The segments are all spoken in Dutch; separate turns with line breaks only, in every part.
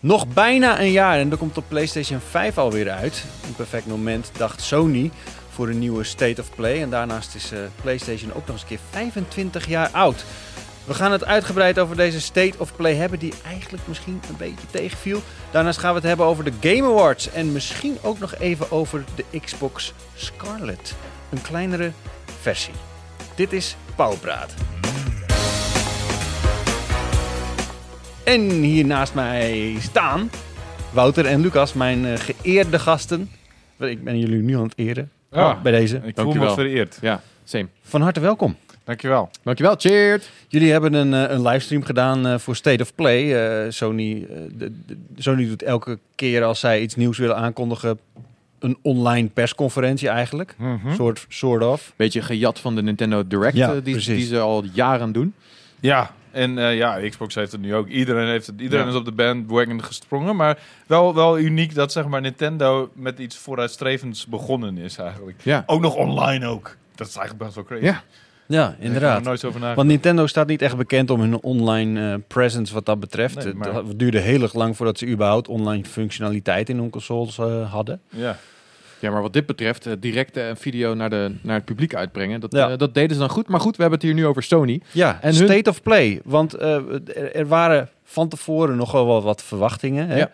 Nog bijna een jaar en dan komt op PlayStation 5 alweer uit. Een perfect moment, dacht Sony, voor een nieuwe State of Play. En daarnaast is eh, PlayStation ook nog eens een keer 25 jaar oud. We gaan het uitgebreid over deze State of Play hebben, die eigenlijk misschien een beetje tegenviel. Daarnaast gaan we het hebben over de Game Awards. En misschien ook nog even over de Xbox Scarlet. Een kleinere versie. Dit is Pauwpraat. En hier naast mij staan Wouter en Lucas, mijn eh, geëerde gasten. Ik ben jullie nu aan het eren
Ja.
bij deze.
Ik voel me
Dankjewel.
vereerd.
Ja, same.
Van harte welkom.
Dankjewel.
Dankjewel, cheers.
Jullie hebben een, eh, een livestream gedaan eh, voor State of Play. Eh, Sony, eh, de- de- Sony doet elke keer als zij iets nieuws willen aankondigen... een online persconferentie eigenlijk.
Mhm. Hm?
Soort, soort of.
Beetje gejat van de Nintendo Direct
Ja,
eh, die,
precies.
die ze al jaren doen.
Ja, en eh, ja, Xbox heeft het nu ook. Iedereen, heeft het, iedereen
Ja.
is op de bandwagon gesprongen. Maar wel, wel uniek dat zeg maar, Nintendo met iets vooruitstrevends begonnen is eigenlijk.
Ja.
Ook nog online ook. Dat is eigenlijk best wel crazy.
Oh, Ja,
Ja,
Daar heb ik
inderdaad.
nog nooit zo over
Want
nagedacht.
Nintendo staat niet echt bekend om hun online eh, presence wat dat betreft.
Nee, maar-
Het duurde heel erg lang voordat ze überhaupt online functionaliteit in hun consoles eh, hadden.
Ja.
Ja, maar wat dit betreft, eh, direct eh, een video naar, de, naar het publiek uitbrengen. Dat,
Ja.
eh, dat deden ze dan goed. Maar goed, we hebben het hier nu over Sony.
Ja,
En hun-
state of play. Want eh, er, er waren van tevoren nog wel wat verwachtingen. Hè?
Ja.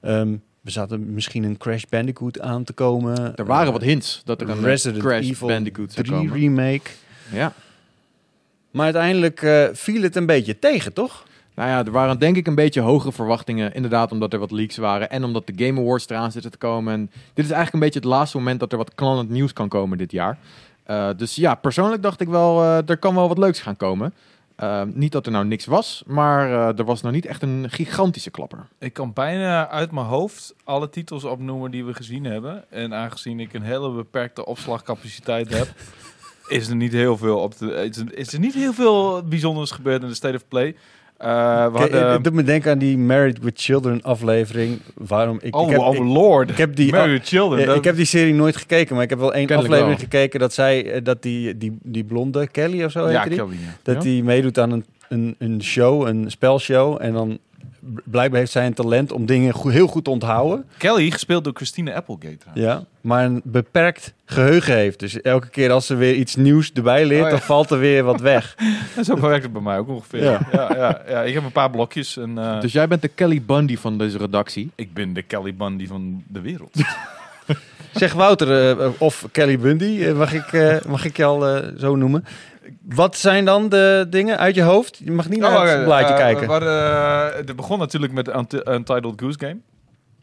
Ehm, we zaten misschien een Crash Bandicoot aan te komen.
Er waren
Eh,
wat hints dat er een
Resident
Crash
Evil
Bandicoot zou
3
komen.
remake.
Ja.
Maar uiteindelijk eh, viel het een beetje tegen, toch?
Nou ja, er waren denk ik een beetje hogere verwachtingen. Inderdaad, omdat er wat leaks waren. En omdat de Game Awards eraan zitten te komen. En dit is eigenlijk een beetje het laatste moment dat er wat knallend nieuws kan komen dit jaar. Eh, dus ja, persoonlijk dacht ik wel, eh, er kan wel wat leuks gaan komen. Eh, niet dat er nou niks was, maar eh, er was nou niet echt een gigantische klapper.
Ik kan bijna uit mijn hoofd alle titels opnoemen die we gezien hebben. En aangezien ik een hele beperkte opslagcapaciteit heb, is er niet heel veel op de, is, er, is er niet heel veel bijzonders gebeurd in de State of Play. Eh, we
Kijk,
hadden,
het doet me denken aan die Married with Children aflevering. Waarom ik,
oh,
ik, heb,
oh
ik,
lord.
ik heb die
Married Children.
Ja,
dat-
ik heb die serie nooit gekeken, maar ik heb wel één
Kennelijk
aflevering
wel.
gekeken dat zij, eh, dat die, die, die blonde Kelly of zo
ja,
heette die,
Kelly, ja.
dat
ja.
die meedoet aan een, een, een show, een spelshow. En dan b- blijkbaar heeft zij een talent om dingen goe- heel goed te onthouden.
Kelly, gespeeld door Christine Applegate. trouwens.
Ja. Maar een beperkt geheugen heeft. Dus elke keer als ze weer iets nieuws erbij leert,
Oh ja.
dan valt er weer wat weg.
En Zo werkt het bij mij ook ongeveer.
Ja.
Ja. Ja, ja, Ik heb een paar blokjes en eh,
Dus jij bent de Kelly Bundy van deze redactie.
ik ben de Kelly Bundy van de wereld.
zeg Wouter, eh, of Kelly Bundy, eh, mag, ik, eh, mag ik je al eh, zo noemen. Wat zijn dan de dingen uit je hoofd? Je mag niet naar
Oh,
het
oké,
blaadje
eh,
kijken.
we hadden, eh, het begon natuurlijk met de Unti- Untitled Goose Game.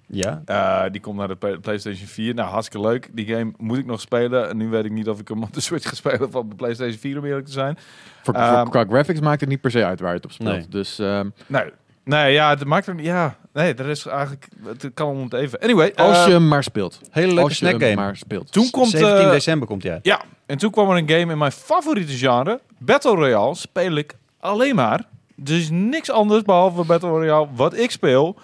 Ja.
Eh, die komt naar de Play- PlayStation 4. Nou, hartstikke leuk. Die game moet ik nog spelen. En nu weet ik niet of ik hem op de Switch ga spelen of op de PlayStation 4, om eerlijk te zijn.
Voor,
Ehm.
voor, qua graphics maakt het niet per se uit waar je het op speelt.
Nee.
Dus ehm,
Nee, nee ja, het maakt hem... Ja, nee, er is eigenlijk... Het kan om het even. Anyway,
als
eh,
je hem maar speelt.
Hele leuke
Als je
snackgame.
hem maar speelt.
toen komt...
17
eh,
december komt hij uit.
ja, en toen kwam er een game in mijn favoriete genre. Battle Royale speel ik alleen maar. Dus niks anders behalve Battle Royale wat ik speel.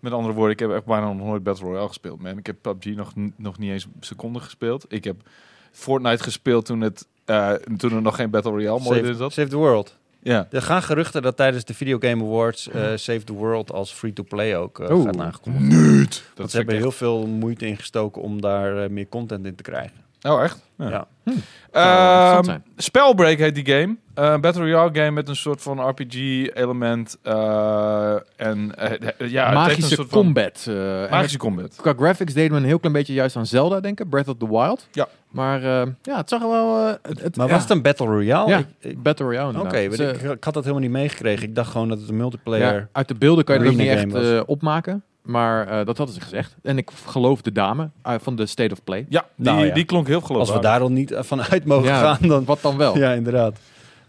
Met andere woorden, ik heb echt bijna nog nooit Battle Royale gespeeld, man. Ik heb PUBG nog, n- nog niet eens een seconde gespeeld. Ik heb Fortnite gespeeld toen, het, eh, toen er nog geen Battle Royale mode
Save,
in zat.
Save the World.
Ja.
Er gaan geruchten dat tijdens de Video Game Awards eh, Save the World als free-to-play ook eh,
Oeh.
gaat aangekondigd.
Dat
Want ze hebben
vind ik
heel veel moeite ingestoken om daar eh, meer content in te krijgen.
echt- Oh, echt?
Ja.
Hm. Zou
Ehm,
interessant zijn.
Spellbreak heet die game. Eh Battle Royale game met een soort van RPG-element. en eh, eh, ja, het heeft een
Magische
soort van-
combat. eh, en het-
Magische combat.
Qua graphics deden we een heel klein beetje juist aan Zelda denken, Breath of the Wild.
Ja.
Maar eh, ja, het zag er wel... eh, het, het-
Maar
ja.
was het een Battle Royale?
Ja,
Ik- ik-
Battle Royale
Oké,
inderdaad.
want
Dus, eh,
ik, ik had dat helemaal niet meegekregen. Ik dacht gewoon dat het een multiplayer...
ja, uit de beelden kan je dat ook niet
arena
echt
game was.
eh, opmaken. Maar eh, dat hadden ze gezegd. En ik geloof de dame eh, van de State of Play.
Ja, die,
Nou ja.
die klonk heel
Als we
geloofwaardig.
daar al niet eh, van uit mogen
Ja.
gaan, dan...
Wat dan wel?
Ja, inderdaad.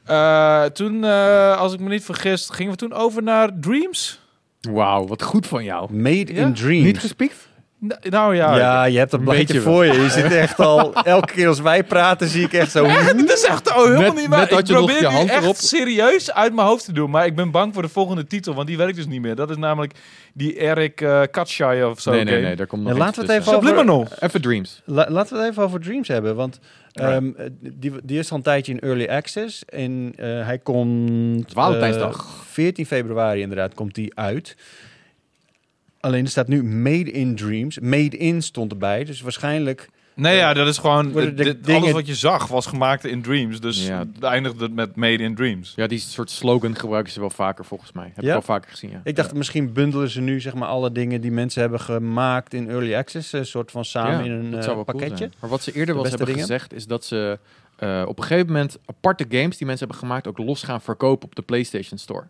Eh, toen, eh, als ik me niet vergis, gingen we toen over naar Dreams?
Wauw, wat goed van jou.
Made
Ja?
in
Niet
Dreams.
gespiekt?
N- nou ja.
Ja, je hebt dat
Een
blaadje
beetje
voor je. Je zit echt al... Elke keer als wij praten zie ik echt zo...
Dat is echt oh, helemaal
Net-
niet waar.
net had
Ik
je nog
probeer
je
nu
hand
echt
erop.
serieus uit mijn hoofd te doen. Maar ik ben bang voor de volgende titel, want die werkt dus niet meer. Dat is namelijk die Eric eh Katschai of zo.
nee, nee,
game.
nee, daar komt nog
Ja, laten we
iets
het even
tussen.
Subliminal.
Even Dreams.
La- laten we het even over Dreams hebben. Want
Right.
ehm, eh, die, die is al een tijdje in early access. En eh, hij komt. eh,
Valentijnsdag.
14 februari inderdaad komt die uit. Alleen er staat nu Made in Dreams. Made in stond erbij, dus waarschijnlijk...
Nee, ja, dat is gewoon... eh,
Worden de
dit-
dingen-
Alles wat je zag was gemaakt in Dreams. Dus
Ja.
het eindigde het met Made in Dreams.
Ja, die soort slogan gebruiken ze wel vaker volgens mij. Heb
Ja?
ik al vaker gezien, ja.
Ik dacht, misschien bundelen ze nu zeg maar alle dingen die mensen hebben gemaakt in Early Access. Een soort van samen
Ja,
in een
dat
eh,
zou wel cool
pakketje.
zijn. maar wat ze eerder wel eens
beste
hebben
dingen.
gezegd is dat ze eh, op een gegeven moment aparte games die mensen hebben gemaakt ook los gaan verkopen op de PlayStation Store.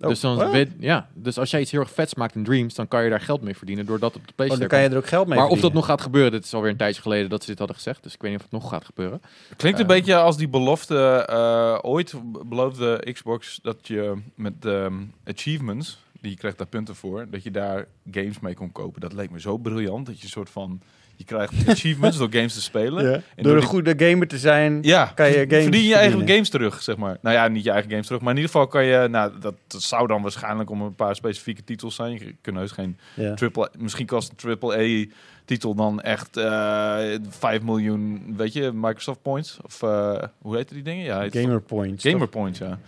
Oh,
dus, dan
what?
weet- ja, dus als jij iets heel erg vets maakt in Dreams, dan kan je daar geld mee verdienen door dat op de
oh, dan
PlayStation.
kan je er ook geld mee
maar of dat
verdienen.
nog gaat gebeuren, dit is alweer een tijdje geleden dat ze dit hadden gezegd, dus ik weet niet of het nog gaat gebeuren.
Klinkt een
Ehm.
Eh.
beetje als die belofte eh, ooit beloofde Xbox dat je met ehm, achievements, die je krijgt daar punten voor, dat je daar games mee kon kopen. Dat leek me zo briljant dat je een soort van je krijgt achievements door games te spelen.
Ja.
En
Door
door
een
die-
goede gamer te zijn.
Ja,
Kan je games
verdien je eigen
verdienen.
games terug, zeg maar. Nou ja, niet je eigen games terug, maar in ieder geval kan je, nou dat, dat zou dan waarschijnlijk om een paar specifieke titels zijn. Je kunt heus geen
Ja.
Triple, misschien kost een triple A-titel dan echt eh 5 miljoen, weet je, Microsoft Points. Of eh, hoe heet die dingen? Ja, heet het
Gamer points.
toch- Gamer Points, ja.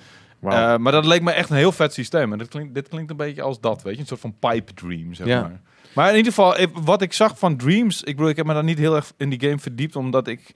Eh, maar dat leek me echt een heel vet systeem. En dat klinkt, dit klinkt een beetje als dat, weet je. Een soort van pipe dream, zeg
Ja.
maar. Maar in ieder geval, ik- wat ik zag van Dreams... Ik bedoel, ik heb me daar niet heel erg in die game verdiept... omdat ik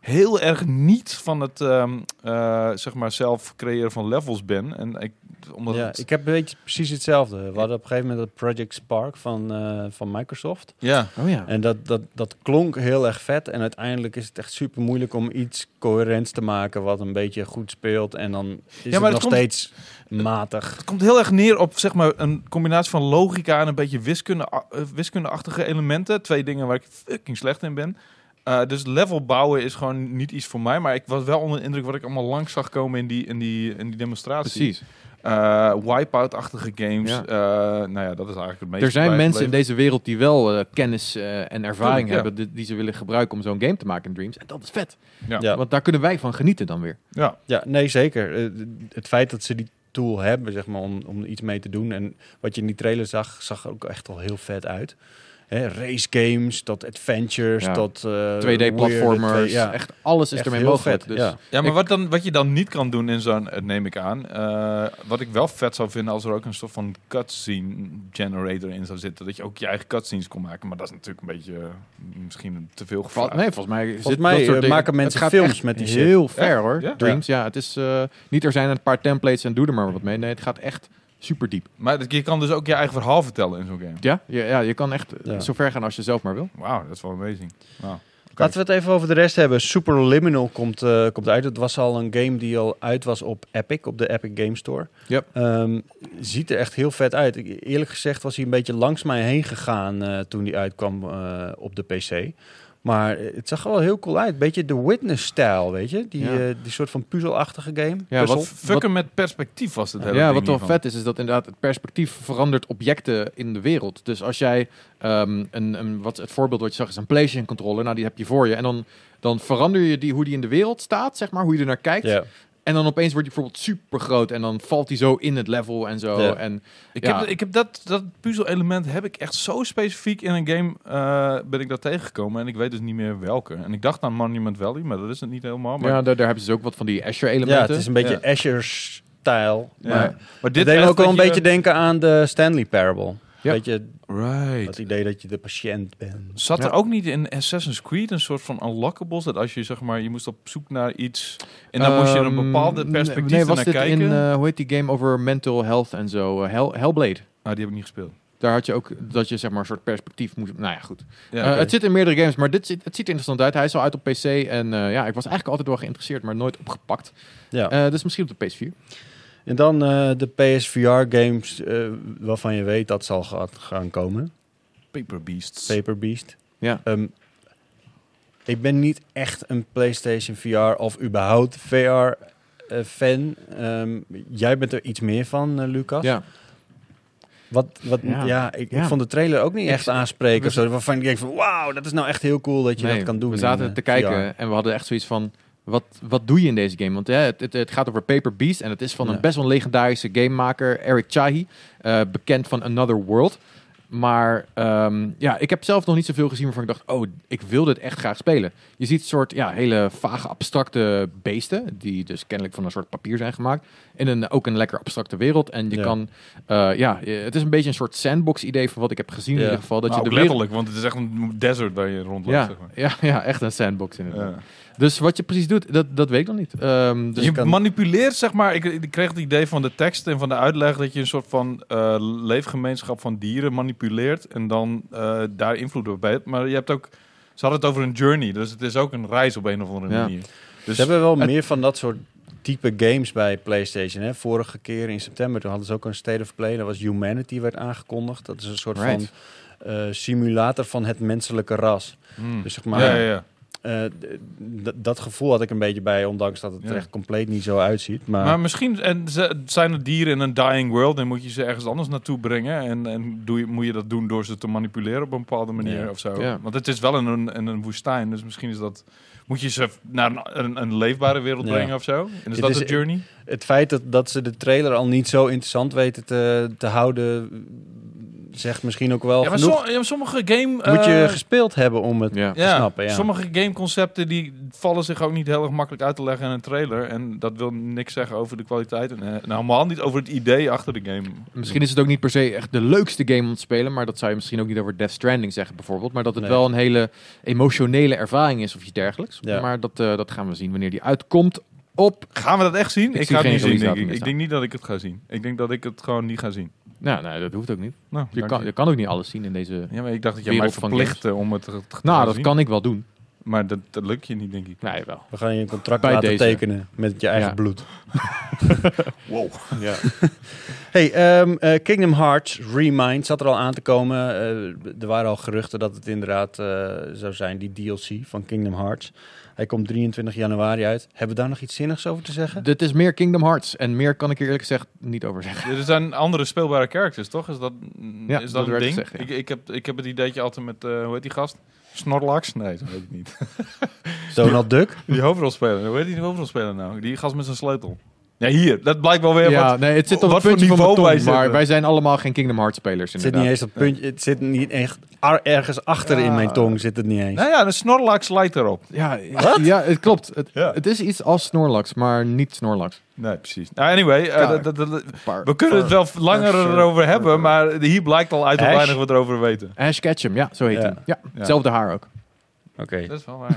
heel erg niet van het, ehm, eh, zeg maar, zelf creëren van levels ben. En ik, omdat
Ja,
het-
ik heb een beetje precies hetzelfde. We hadden op een gegeven moment dat Project Spark van, eh, van Microsoft.
ja.
Oh ja.
En dat, dat, dat klonk heel erg vet. En uiteindelijk is het echt super moeilijk om iets coherents te maken wat een beetje goed speelt. En dan is het
maar dat
nog
komt-
steeds matig.
Het komt heel erg neer op zeg maar, een combinatie van logica en een beetje wiskunde, eh, wiskundeachtige elementen. Twee dingen waar ik fucking slecht in ben. Eh, dus level bouwen is gewoon niet iets voor mij. Maar ik was wel onder de indruk wat ik allemaal langs zag komen in die, in die, in die demonstratie.
Precies.
Eh, Wipeout-achtige games.
Ja.
Eh, nou ja, dat is eigenlijk het meest.
Er zijn mensen in
bijgebleven.
deze wereld die wel eh, kennis eh, en ervaring
Tuurlijk, ja.
hebben die, die ze willen gebruiken om zo'n game te maken in Dreams. En dat is vet.
Ja.
Want daar kunnen wij van genieten dan weer.
Ja.
Ja, nee, zeker. Eh, d- het feit dat ze die tool hebben, zeg maar, om, om er iets mee te doen. En wat je in die trailer zag, zag er ook echt al heel vet uit. Hè, race games, tot adventures,
Ja.
tot... eh, weirde
2D-platformers.
twee- ja.
eh, Echt alles is
Echt
ermee
heel
mogelijk.
vet,
Dus
ja.
Ja, maar
Ik-
wat, dan, wat je dan niet kan doen in zo'n, eh, neem ik aan. eh, wat ik wel vet zou vinden als er ook een soort van cutscene generator in zou zitten. Dat je ook je eigen cutscenes kon maken. Maar dat is natuurlijk een beetje eh, misschien te veel
Val-
gevraagd.
nee, volgens mij, zit
mij,
dat soort
eh,
dingen-
maken mensen
het gaat
films
echt
met die shit.
heel ver
Ja?
hoor.
Ja?
Dreams, ja. Het is eh, niet er zijn een paar templates en doe er maar wat mee. Nee, het gaat echt super diep.
Maar dat- je kan dus ook je eigen verhaal vertellen in zo'n game.
Ja, ja, ja je kan echt eh,
Ja.
zo ver gaan als je zelf maar wil.
Wauw, dat is wel amazing. Wauw.
Laten we het even over de rest hebben. Superliminal komt, eh, komt uit. Dat was al een game die al uit was op Epic, op de Epic Game Store.
Yep.
Ehm, ziet er echt heel vet uit. Ik- Eerlijk gezegd was hij een beetje langs mij heen gegaan eh, toen die uitkwam eh, op de PC. Maar eh, het zag er wel heel cool uit. Beetje de Witness-stijl, weet je? Die,
Ja.
eh, die soort van puzzelachtige game.
Ja,
dus
wat-
fucken met perspectief was het hele
Ja,
ding
wat wel
hiervan.
vet is, is dat inderdaad het perspectief verandert objecten in de wereld. Dus als jij ehm, een, een, wat het voorbeeld wat je zag is een PlayStation controller, nou die heb je voor je. En dan, dan verander je die, hoe die in de wereld staat, zeg maar, hoe je er naar kijkt.
Ja.
En dan opeens wordt die bijvoorbeeld super groot en dan valt die zo in het level en zo.
Ja.
En
Ik
Ja.
heb, ik heb dat, dat puzzel-element heb ik echt zo specifiek in een game eh, ben ik daar tegengekomen. En ik weet dus niet meer welke. En ik dacht aan Monument Valley, maar dat is het niet helemaal. Oh, Maar,
ja, daar, daar hebben ze dus ook wat van die Azure elementen.
ja, het is een beetje Asher-stijl.
Ja.
Maar
maar
dit
dit
deed me
echt
ook wel
dat
een
je-
beetje denken aan de Stanley Parable.
Ja.
Weet je,
Right.
het idee dat je de patiënt bent.
Zat
Ja.
er ook niet in Assassin's Creed een soort van unlockables? Dat als je zeg maar, je moest op zoek naar iets. En dan moest je een
Ehm,
bepaalde
nee,
perspectief
nee, was
naar
dit
kijken.
In, eh, hoe heet die game over mental health en zo? eh, Hell, Hellblade.
Ah, die heb ik niet gespeeld.
Daar had je ook dat je zeg maar een soort perspectief moest. Nou ja, goed.
Ja,
Eh,
oké.
Het zit in meerdere games, maar dit zit, het ziet er interessant uit. Hij is al uit op PC en eh, ja, ik was eigenlijk altijd wel geïnteresseerd, maar nooit opgepakt.
Ja.
Eh, dus misschien op de PS4.
En dan eh, de PSVR-games eh, waarvan je weet dat zal gaat- gaan komen.
Paper Beasts.
Paper Beast.
Ja.
Ehm, ik ben niet echt een PlayStation VR of überhaupt VR-fan. Ehm, jij bent er iets meer van, eh, Lucas.
Ja.
Wat, wat, ja.
Ja.
ik, ik
Ja.
vond de trailer ook niet
Ik-
echt aanspreken.
we-
Of zo, waarvan ik denk van, wauw, dat is nou echt heel cool dat je
Nee,
dat kan doen.
We zaten
in, eh,
te kijken
VR.
en we hadden echt zoiets van: wat, wat doe je in deze game? Want hè, het, het, het gaat over Paper Beast en het is van
Ja.
een best wel legendarische gamemaker, Eric Chahi, eh, bekend van Another World. Maar ehm, ja, ik heb zelf nog niet zoveel gezien waarvan ik dacht, oh, ik wil dit echt graag spelen. Je ziet soort ja, hele vage, abstracte beesten, die dus kennelijk van een soort papier zijn gemaakt. In een, ook een lekker abstracte wereld. En je
Ja.
kan, eh, ja, je- het is een beetje een soort sandbox idee van wat ik heb gezien
Ja.
in ieder geval. Dat
Maar
je
ook
de wereld...
letterlijk, want het is echt een desert waar je rondloopt,
Ja,
zeg maar.
ja, ja, echt een sandbox inderdaad.
Ja.
Dus wat je precies doet, dat, dat weet ik nog niet. Ehm, dus
je
kan-
manipuleert, zeg maar. Ik, ik kreeg het idee van de tekst en van de uitleg dat je een soort van eh, leefgemeenschap van dieren manipuleert en dan eh, daar invloed op hebt. Maar je hebt ook. Ze hadden het over een journey, dus het is ook een reis op een of andere
Ja.
manier. Dus
Ze hebben wel
het-
meer van dat soort type games bij PlayStation. Hè? Vorige keer in september toen hadden ze ook een State of Play. Dat was Humanity werd aangekondigd. Dat is een soort
Right.
van eh, simulator van het menselijke ras.
Hmm.
Dus zeg maar,
ja, ja, ja.
eh, d- d- dat gevoel had ik een beetje bij, ondanks dat het
Ja.
er echt compleet niet zo uitziet. Maar,
Maar misschien en ze- zijn er dieren in een dying world en moet je ze ergens anders naartoe brengen. En, en doe je, moet je dat doen door ze te manipuleren op een bepaalde manier
Ja.
of zo.
Ja.
Want het is wel in een, in een woestijn, dus misschien is dat... Moet je ze naar een, een, een leefbare wereld
Ja.
brengen of zo? En is
Dit
dat
is-
de journey?
het feit dat, dat ze de trailer al niet zo interessant weten te, te houden, zegt misschien ook wel
Ja maar,
genoeg.
som- ja, maar sommige game...
Moet
eh,
je gespeeld hebben om het
ja.
te snappen, ja.
Sommige gameconcepten die vallen zich ook niet heel erg makkelijk uit te leggen in een trailer. En dat wil niks zeggen over de kwaliteit. En, eh, nou, helemaal niet over het idee achter de game.
Misschien is het ook niet per se echt de leukste game om te spelen, maar dat zou je misschien ook niet over Death Stranding zeggen bijvoorbeeld, maar dat het
Nee.
wel een hele emotionele ervaring is of iets dergelijks.
Ja.
Maar dat, eh, dat gaan we zien wanneer die uitkomt op,
Gaan we dat echt zien?
Ik
Ik,
zie
ga het
geen
niet zien,
release
denk
datum
ik. Ik
staan.
denk niet dat ik het ga zien. Ik denk dat ik het gewoon niet ga zien.
nou nee, dat hoeft ook niet.
Nou,
Je
dank
kan,
je.
je kan ook niet alles zien in deze...
Ja, maar ik dacht dat jij mij
wereld van
verplichtte om het te te
Nou,
gaan
dat
zien.
kan ik wel doen.
Maar dat, dat lukt je niet, denk ik.
Nee, wel.
We gaan je een contract
Bij
laten
deze.
tekenen met je eigen
Ja.
bloed.
Wow.
Ja.
Hey, ehm, eh, Kingdom Hearts Remind zat er al aan te komen. Eh, er waren al geruchten dat het inderdaad eh, zou zijn, die DLC van Kingdom Hearts. Hij komt 23 januari uit. Hebben we daar nog iets zinnigs over te zeggen?
Dit is meer Kingdom Hearts en meer kan ik er eerlijk gezegd niet over zeggen.
Er zijn andere speelbare characters, toch? Is dat,
Ja,
is
dat
dat, een
werd
ding?
gezegd, ja.
ik, ik, heb, ik heb het idee dat je altijd met, eh, hoe heet die gast? Snorlax? Nee, dat weet ik niet.
Donald Duck?
Die hoofdrolspeler. Hoe heet die hoofdrolspeler nou? Die gast met zijn sleutel. Ja, hier. Dat blijkt wel weer
ja,
Oh wat...
nee, het zit op
wat
het
voor
puntje van mijn
niveau
tong,
wij
maar
zitten.
wij zijn allemaal geen Kingdom Hearts spelers
Het zit niet
inderdaad.
eens dat puntje. Het zit niet echt ar- ergens achter in
Ja.
mijn tong. Zit het niet eens.
Nou ja, de Snorlax lijkt erop.
Ja, ja, het klopt. Het,
Ja.
het is iets als Snorlax, maar niet Snorlax.
Nee, precies. Nou, anyway. eh,
Ja.
dat- dat- dat- we kunnen het wel langer
Par-
erover hebben, maar hier blijkt al uit hoe
Ash?
weinig we erover weten.
Ash Ketchum, ja, zo heet
Ja.
hij. Ja,
Ja.
hetzelfde haar ook.
Oké.
Dat is wel waar.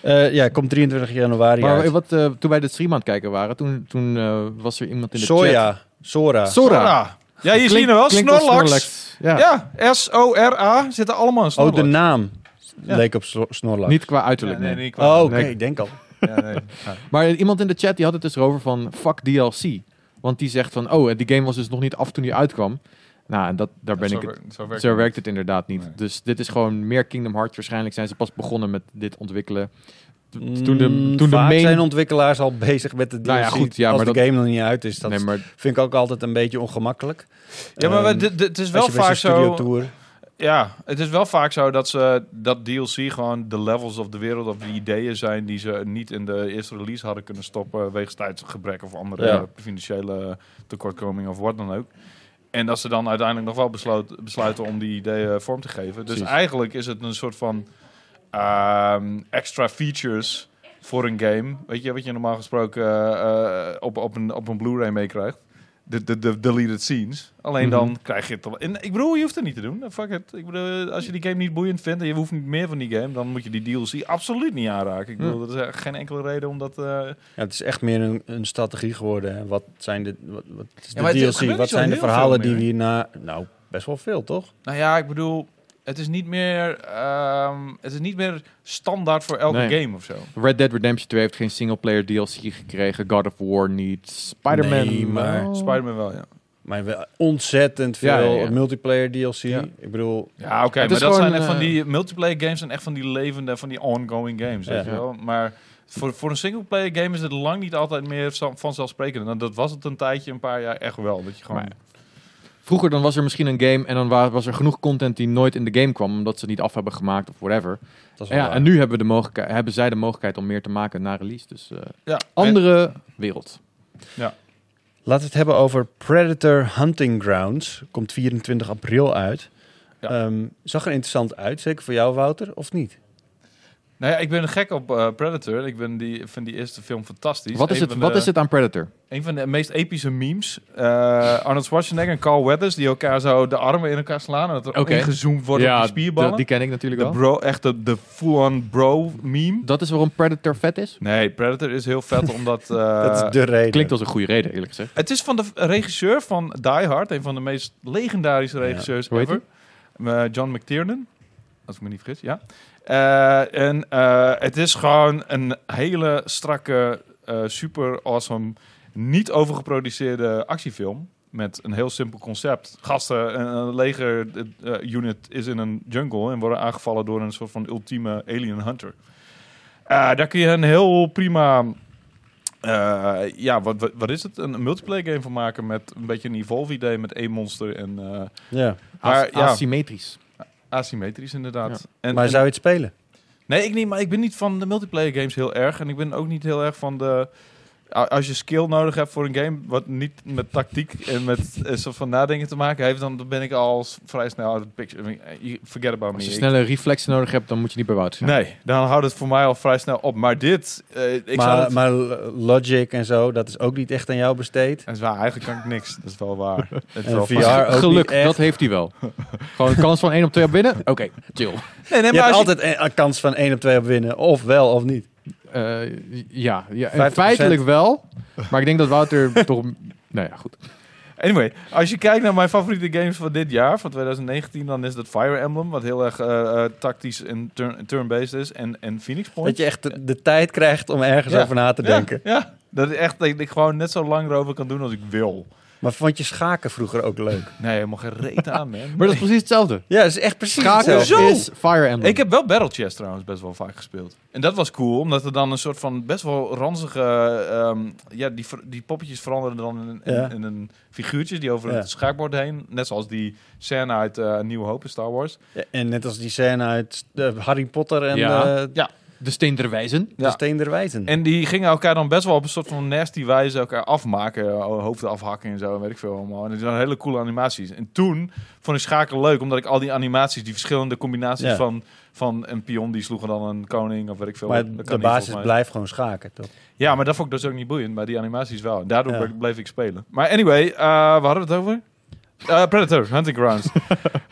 Eh, ja, komt 23 januari
Maar
uit.
wat, eh, toen wij de stream aan het kijken waren, toen, toen eh, was er iemand in de chat.
Soja. Sora.
Sora.
Ja, hier zie je
Klink-
hem wel.
klinkt als
Snorlax.
Ja.
Ja, S-O-R-A. Zitten allemaal in
oh, de
Snorlax.
naam
Ja.
leek op Sor- Snorlax.
Niet qua uiterlijk, nee.
niet
Oh,
kwaad.
oké.
Nee.
Ik denk al.
Ja, nee. Ja.
Maar iemand in de chat die had het dus over van fuck DLC. Want die zegt van, oh, die game was dus nog niet af toen die uitkwam. Nou, en dat, daar ben
Zo
ik het.
wer- Zo werkt
Zo
het.
werkt het inderdaad niet.
Nee.
Dus dit is gewoon meer Kingdom Hearts. Waarschijnlijk zijn ze pas begonnen met dit ontwikkelen. T-
Mm,
Toen de, toen de
vaak
main...
zijn ontwikkelaars al bezig met de DLC.
Nou ja, goed, ja,
als
maar
de
dat-
game nog niet uit is, dat
nee, maar
vind ik ook altijd een beetje ongemakkelijk.
Ja, maar we-
Ehm,
dit- dit- het is
als
wel
je bij
vaak
zo'n
zo...
studiotour-
Ja, het is wel vaak zo dat ze dat DLC gewoon de levels of de wereld of de ideeën zijn die ze niet in de eerste release hadden kunnen stoppen wegens tijdsgebrek of andere
Ja.
eh, financiële tekortkomingen of wat dan ook. En dat ze dan uiteindelijk nog wel besloot, besluiten om die ideeën vorm te geven. Dus
Precies.
eigenlijk is het een soort van ehm, extra features voor een game. Weet je, wat je normaal gesproken eh, eh, op, op een, op een Blu-ray meekrijgt. De, de, de deleted scenes. Alleen dan krijg je het al. En ik bedoel, je hoeft het niet te doen. Nou, Fuck it. Ik bedoel, als je die game niet boeiend vindt en je hoeft niet meer van die game, dan moet je die DLC absoluut niet aanraken. Ik bedoel,
Hm.
dat is echt geen enkele reden om dat. eh,
Ja, het is echt meer een, een strategie geworden. Hè. Wat zijn de, wat, wat is
maar het
de
gebeurt
DLC?
niet
Wat
zo
zijn de
heel
verhalen die
veel meer.
we hierna... Nou, best wel veel, toch?
Nou ja, ik bedoel, het is niet meer, ehm, het is niet meer standaard voor elke
Nee.
game of zo.
Red Dead Redemption 2 heeft geen singleplayer DLC gekregen. God of War niet. Spider-Man
Nee, maar-
wel.
Spider-Man wel, ja.
Maar wel ontzettend veel
Ja, ja, ja.
multiplayer DLC.
Ja.
Ik bedoel,
Ja, oké,
Het
maar
is
dat
gewoon,
zijn echt van
eh,
die multiplayer games en echt van die levende, van die ongoing games, weet
Ja.
je wel. Maar voor, voor een singleplayer game is het lang niet altijd meer zo- vanzelfsprekend. En dat was het een tijdje, een paar jaar echt wel. Dat je gewoon...
Maar- Vroeger dan was er misschien een game en dan wa- was er genoeg content die nooit in de game kwam. Omdat ze het niet af hebben gemaakt of whatever.
dat is wel
Ja,
waar.
en nu hebben, we de mogelijkheid- hebben zij de mogelijkheid om meer te maken na release. Dus eh,
ja,
andere wereld.
Laten we het hebben over Predator Hunting Grounds. Komt 24 april uit.
Ja.
Ehm, zag er interessant uit, zeker voor jou, Wouter, of niet?
Nou ja, ik ben gek op eh, Predator. Ik ben die, vind die eerste film fantastisch.
Wat is,
Een
het,
van
wat
de-
is het aan Predator?
Een van de meest epische memes. Eh, Arnold Schwarzenegger en Carl Weathers die elkaar zo de armen in elkaar slaan. En dat er
Oké.
ingezoomd wordt op die spierballen.
dat- die ken ik natuurlijk
de
wel.
bro, echt de, de full-on bro meme.
Dat is waarom Predator vet is?
Nee, Predator is heel vet omdat... eh,
dat is de reden.
Klinkt als een goede reden, eerlijk gezegd.
Het is van de v- regisseur van Die Hard. Een van de meest legendarische
Ja.
regisseurs
Hoe heet
ever. Eh, John McTiernan. Als ik me niet vergis, ja. Eh, en eh, het is gewoon een hele strakke, eh, super awesome, niet overgeproduceerde actiefilm. Met een heel simpel concept. Gasten, een, een leger eh, eh, unit is in een jungle en worden aangevallen door een soort van ultieme alien hunter. Eh, daar kun je een heel prima. eh, ja, wat, wat, wat is het? Een multiplayer game van maken met een beetje een evolve idee met één monster en eh,
Ja.
Maar,
As-
ja.
Asymmetrisch.
asymmetrisch inderdaad. En,
maar
en-
zou je het spelen?
Nee, ik niet, maar ik ben niet van de multiplayer games heel erg. En ik ben ook niet heel erg van de... a- Als je skill nodig hebt voor een game, wat niet met tactiek en met een soort van nadenken te maken heeft, dan ben ik al s- vrij snel out of the picture. I mean, eh, you Forget about me.
Als je
Ik-
snelle reflexen nodig hebt, dan moet je niet bij Wouter zijn.
Nee, dan houdt het voor mij al vrij snel op. Maar dit, eh, ik zal
maar,
het...
maar Logic en zo, dat is ook niet echt aan jou besteed.
Dat is waar, eigenlijk kan ik niks. Dat is wel waar. Het is
En
wel
VR
vast.
ook niet
Geluk,
echt.
dat heeft hij wel. oh, Gewoon een kans van 1 op 2 op winnen? Oké, chill.
Nee, nee,
Je
maar
hebt
als je-
altijd een, een kans van 1 op 2 op winnen. Of wel, of niet.
Eh, ja, ja en
50%.
feitelijk wel. Maar ik denk dat Wouter toch... Nou ja, goed.
Anyway, als je kijkt naar mijn favoriete games van dit jaar, van 2019, dan is dat Fire Emblem, wat heel erg eh, eh, tactisch en turn- turn-based is, en, en Phoenix Point.
Dat je echt de, de tijd krijgt om ergens
Ja.
over na te
Ja,
denken.
Ja, dat is echt dat ik gewoon net zo lang erover kan doen als ik wil.
Maar vond je schaken vroeger ook leuk?
Nee, helemaal geen reet aan, man.
Maar dat is precies hetzelfde.
Ja, dat is echt precies
Schaken
hetzelfde.
Hoezo?
is Fire Emblem.
Ik heb wel Battle Chess trouwens best wel vaak gespeeld. En dat was cool, omdat er dan een soort van best wel ranzige... ehm, ja, die, ver- die poppetjes veranderden dan in, in,
Ja.
in een figuurtje die over
Ja.
het schaakbord heen... Net zoals die scène uit eh Nieuwe Hoop in Star Wars.
Ja, en net als die scène uit eh, Harry Potter en
Ja.
eh,
De Steen der Wijzen.
de
Ja.
Steen der Wijzen.
En die gingen elkaar dan best wel op een soort van nasty wijze elkaar afmaken. eh, Hoofden afhakken en zo, en weet ik veel allemaal. En het zijn hele coole animaties. En toen vond ik schaken leuk, omdat ik al die animaties, die verschillende combinaties
Ja.
van, van een pion, die sloegen dan een koning of weet ik veel.
maar
Dat kan
de
niet, volgens
basis
mij.
blijft gewoon schaken, toch?
Ja, maar dat vond ik dus ook niet boeiend, maar die animaties wel. En Daardoor
Ja.
ble- bleef ik spelen. Maar anyway, eh waar hadden we het over? Eh, Predator, Hunting Grounds.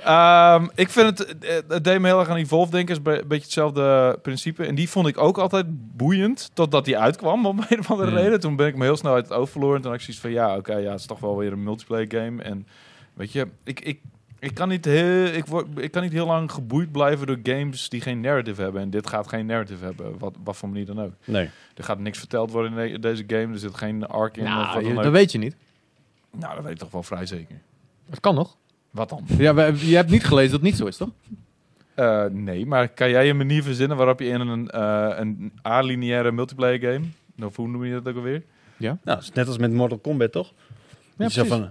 Ehm, ik vind het, eh, het deed me heel erg aan Evolve denken, is be- een beetje hetzelfde principe. En die vond ik ook altijd boeiend, totdat die uitkwam, om een of andere
Hmm.
reden. Toen ben ik me heel snel uit het oog verloren. En toen had ik zoiets van, ja, oké, ja, het is toch wel weer een multiplayer game. En weet je, ik, ik, ik, kan niet heel, ik, word, ik kan niet heel lang geboeid blijven door games die geen narrative hebben. En dit gaat geen narrative hebben, wat, wat voor manier dan ook.
Nee.
Er gaat niks verteld worden in de- deze game. Er zit geen arc in. of wat
Nou,
dan
je-
ook.
dat weet je niet.
Nou, dat weet ik toch wel vrij zeker.
Dat kan nog.
Wat dan?
Ja, we, je hebt niet gelezen dat het niet zo is, toch?
Eh, nee, maar kan jij een manier verzinnen waarop je in een, eh een alineaire multiplayer game... Of hoe noem je dat ook alweer?
Nou, het is net als met Mortal Kombat, toch? Ja, zo
precies.
van...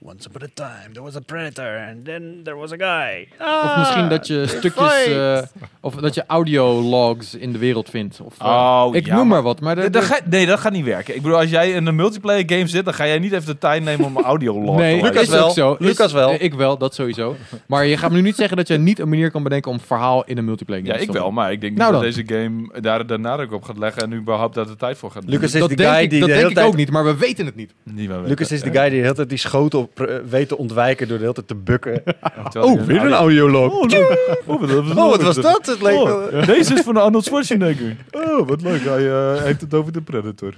Once upon a time, there was a predator, and then there was a guy. Ah,
Of misschien dat je stukjes...
fight.
eh, of dat je audiologs in de wereld vindt. Of, eh,
Oh,
ik
ja,
noem
maar-
maar wat, maar... de-
Nee,
de-
dat ga- nee, dat gaat niet werken. Ik bedoel, als jij in een multiplayer game zit... dan ga jij niet even de tijd nemen om een audio log
Nee,
te luisteren.
Lucas
is ook
wel.
zo. Is-
Lucas wel.
eh, ik wel, dat sowieso. Maar je gaat me nu niet zeggen dat je niet een manier kan bedenken om verhaal in een multiplayer
Ja,
game te
ik
stoppen.
wel, maar ik denk
Nou
niet dat
dan.
deze game daar de nadruk op gaat leggen... en überhaupt daar de tijd voor gaat
Lucas is
Dat
de
denk
guy
ik,
die
dat
de
denk
hele
ik
tijd...
ook niet, maar we weten het niet.
Niet meer
Lucas is de guy die de hele tijd die schoten op, eh, weet te ontwijken door de hele tijd te bukken.
Terwijl
Oh,
hij
audioloog.
Oh, leuk. Oh, wat,
Oh, wat was dat? Het leek wel-
Oh, deze is van Arnold Schwarzenegger. Oh, wat leuk. Hij eh, heeft het over de Predator.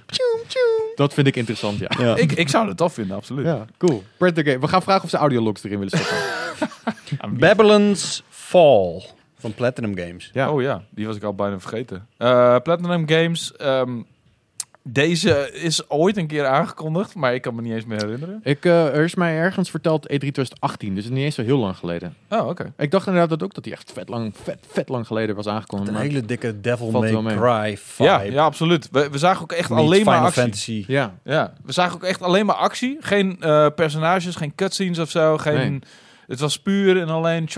Dat vind ik interessant, ja.
Ja.
Ik, ik zou dat tof vinden, absoluut.
Ja, cool. Predator Game. We gaan vragen of ze audiologs erin willen stoppen.
Babylon's Fall van Platinum Games.
Ja.
Oh ja, die was ik al bijna vergeten. Eh, Platinum Games. ehm, deze is ooit een keer aangekondigd, maar ik kan me niet eens meer herinneren.
ik, eh, er is mij ergens verteld E3 2018, dus niet eens zo heel lang geleden.
Oh, oké.
Ik dacht inderdaad dat ook dat die echt vet lang, vet, vet lang geleden was aangekondigd.
Een
maar-
hele dikke Devil
Valt wel
May
mee.
Cry vibe.
Ja, ja, absoluut. We, we zagen ook echt
Niet
alleen maar
Final
actie.
Fantasy.
Ja,
Ja, we zagen ook echt alleen maar actie. Geen eh, personages, geen cutscenes of zo. Geen,
Nee.
Het was puur en alleen...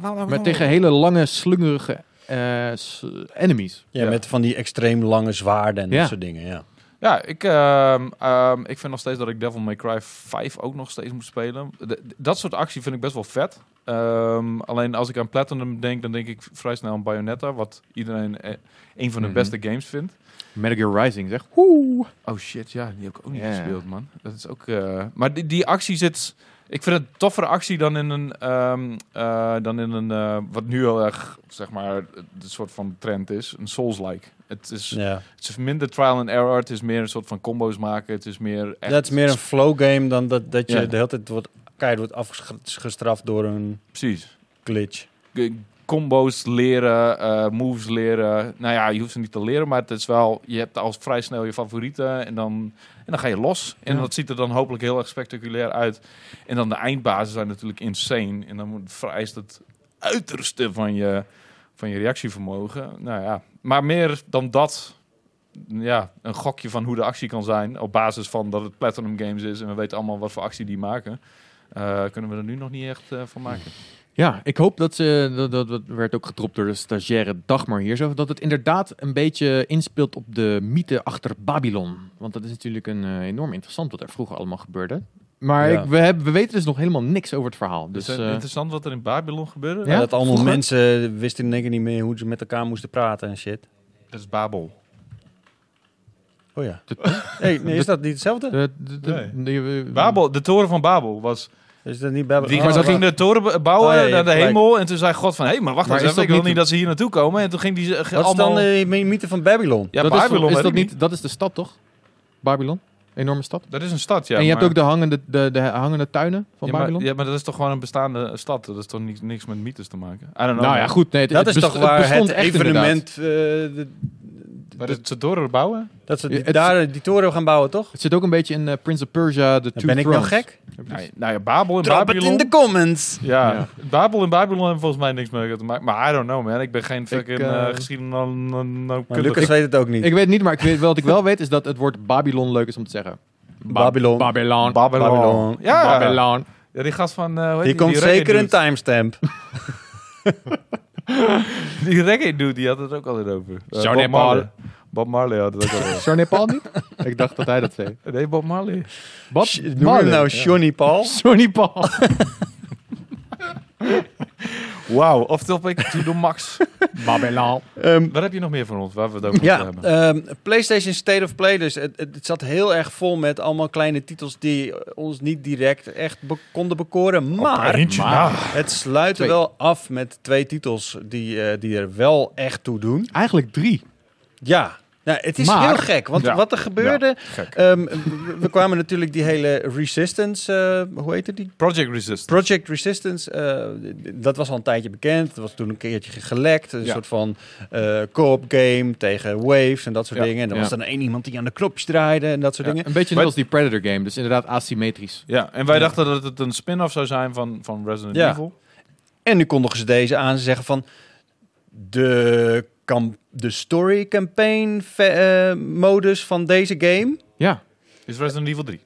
Nou,
maar tegen hele lange, slungerige eh, s- enemies.
Ja,
Ja.
met van die extreem lange zwaarden en
Ja.
dat soort dingen. Ja.
Ja, ik, ehm, ehm, ik vind nog steeds dat ik Devil May Cry 5 ook nog steeds moet spelen. De- de- dat soort actie vind ik best wel vet. Ehm, alleen als ik aan Platinum denk, dan denk ik vrij snel aan Bayonetta, wat iedereen eh, een van de
Mhm.
beste games vindt.
Metal Gear Rising, zeg. Woe!
Oh shit, ja, die heb ik ook niet
Ja.
gespeeld, man. Dat is ook. eh, maar die, die actie zit. Ik vind het een toffere actie dan in een. ehm, eh, dan in een eh, wat nu heel erg, zeg maar, een soort van trend is. Een Souls-like. Het is,
Ja.
het is minder trial and error. Het is meer een soort van combo's maken. Het is meer. Echt
Dat is meer een flow game dan dat, dat je
Ja.
de hele tijd wordt, keihard wordt afgestraft door een
Precies.
glitch.
G- combo's leren, eh, moves leren. Nou ja, je hoeft ze niet te leren, maar het is wel, je hebt al vrij snel je favorieten en dan, en dan ga je los. En
Ja.
dat ziet er dan hopelijk heel erg spectaculair uit. En dan de eindbazen zijn natuurlijk insane. En dan moet- vereist het uiterste van je, van je reactievermogen. Nou ja, maar meer dan dat, ja, een gokje van hoe de actie kan zijn. Op basis van dat het Platinum Games is en we weten allemaal wat voor actie die maken. eh, kunnen we er nu nog niet echt eh, van maken.
Ja, ik hoop dat ze, dat, dat, dat werd ook getropt door de stagiaire Dagmar hier, zo, dat het inderdaad een beetje inspeelt op de mythe achter Babylon. Want dat is natuurlijk een, eh, enorm interessant wat er vroeger allemaal gebeurde. Maar
Ja.
ik, we, hebben, we weten dus nog helemaal niks over het verhaal. Dus,
Dus het is
eh,
interessant wat er in Babylon gebeurde.
Ja?
dat allemaal
Vroeger?
mensen wisten in één keer niet meer hoe ze met elkaar moesten praten en shit.
Dat is Babel.
Oh ja.
De-
Hey, nee, is dat niet hetzelfde?
de- de- de- de- eh, de-
Babel, de toren van Babel was.
Is dat niet Babel?
Die,
Oh,
ze
wa-
ging de toren be- bouwen
Oh ja, je
naar de
hebt gelijk.
hemel. En toen zei God van, hé, maar wacht
Maar
eens
is
even,
dat
ik wil
niet-
niet dat ze hier naartoe komen. En toen ging die ze- ge-
Wat is
allemaal...
dan de my- mythe van Babylon?
ja,
dat is,
Babylon,
is
weet
dat,
ik niet.
niet, dat is de stad, toch? Babylon? Enorme stad.
Dat is een stad, ja.
en je
maar-
hebt ook de hangende, de, de hangende tuinen van
ja, maar,
Babylon.
ja, maar dat is toch gewoon een bestaande eh, stad. Dat is toch niks, niks met mythes te maken? I don't know.
nou ja, goed. Nee, het-
Dat
het
is
best-
toch waar
bestond
het
echt inderdaad.
evenement... eh, de-
Maar dat ze toren bouwen?
dat ze
Ja,
die-
het-
daar die toren gaan bouwen, toch?
Het zit ook een beetje in eh, Prince of Persia, de Two
Ben ik nou
Thrones.
gek?
Nou, ja, nou ja, Babel en
Drop het
Babylon.
in de comments!
Ja,
Ja.
Babel en Babylon hebben volgens mij niks mee te maken. Maar I don't know, man. Ik ben geen fucking eh
eh,
Maar
geschiedenis...
Lucas weet het ook niet.
Ik weet het niet, maar ik weet, wat ik wel weet is dat het woord Babylon leuk is om te zeggen. Ba-
Babylon.
Babylon.
Babylon.
Babylon.
Ja.
Babylon.
Ja, die gast van... eh, hoe heet
Hier
die,
komt
die
zeker een
reggae
timestamp.
dude. Die reggae dude, die had het ook altijd over. Eh,
Johnny
Bob Marley. Bob Marley had het ook al over.
Johnny Paul niet? ik dacht dat hij dat zei.
Nee, Bob Marley.
Bob
Sh- Noem hem nou Johnny Paul?
Johnny Paul.
Wauw. Of topic to the max.
Babylon.
Ehm,
Wat heb je nog meer van ons? Waar we het over moeten
Ja,
hebben?
ehm, PlayStation State of Play. Dus het, het, het zat heel erg vol met allemaal kleine titels die ons niet direct echt be- konden bekoren. Maar
eh, maar.
het sluit
Twee.
wel af met twee titels die, eh, die er wel echt toe doen.
Eigenlijk drie.
Ja, nou, het is
Maar-
heel gek. Want
Ja.
wat er gebeurde...
Gek.
ehm, we- we kwamen natuurlijk die hele Resistance... eh, hoe heette die?
Project Resist.
Project Resistance, eh, d- d- dat was al een tijdje bekend. Dat was toen een keertje gelekt. Een
Ja.
soort van eh co-op game tegen waves en dat soort
Ja,
dingen. En er
ja.
was dan één iemand die aan de knopjes draaide en dat soort
Ja.
dingen.
Een beetje net
Maar-
als die Predator game, dus inderdaad asymmetrisch.
ja, en wij dachten dat het een spin-off zou zijn van, van Resident
Ja.
Evil.
En nu kondigen ze deze aan. Ze zeggen van de, kam- de story campaign ve- eh, modus van deze game.
Ja.
Is Resident Evil 3.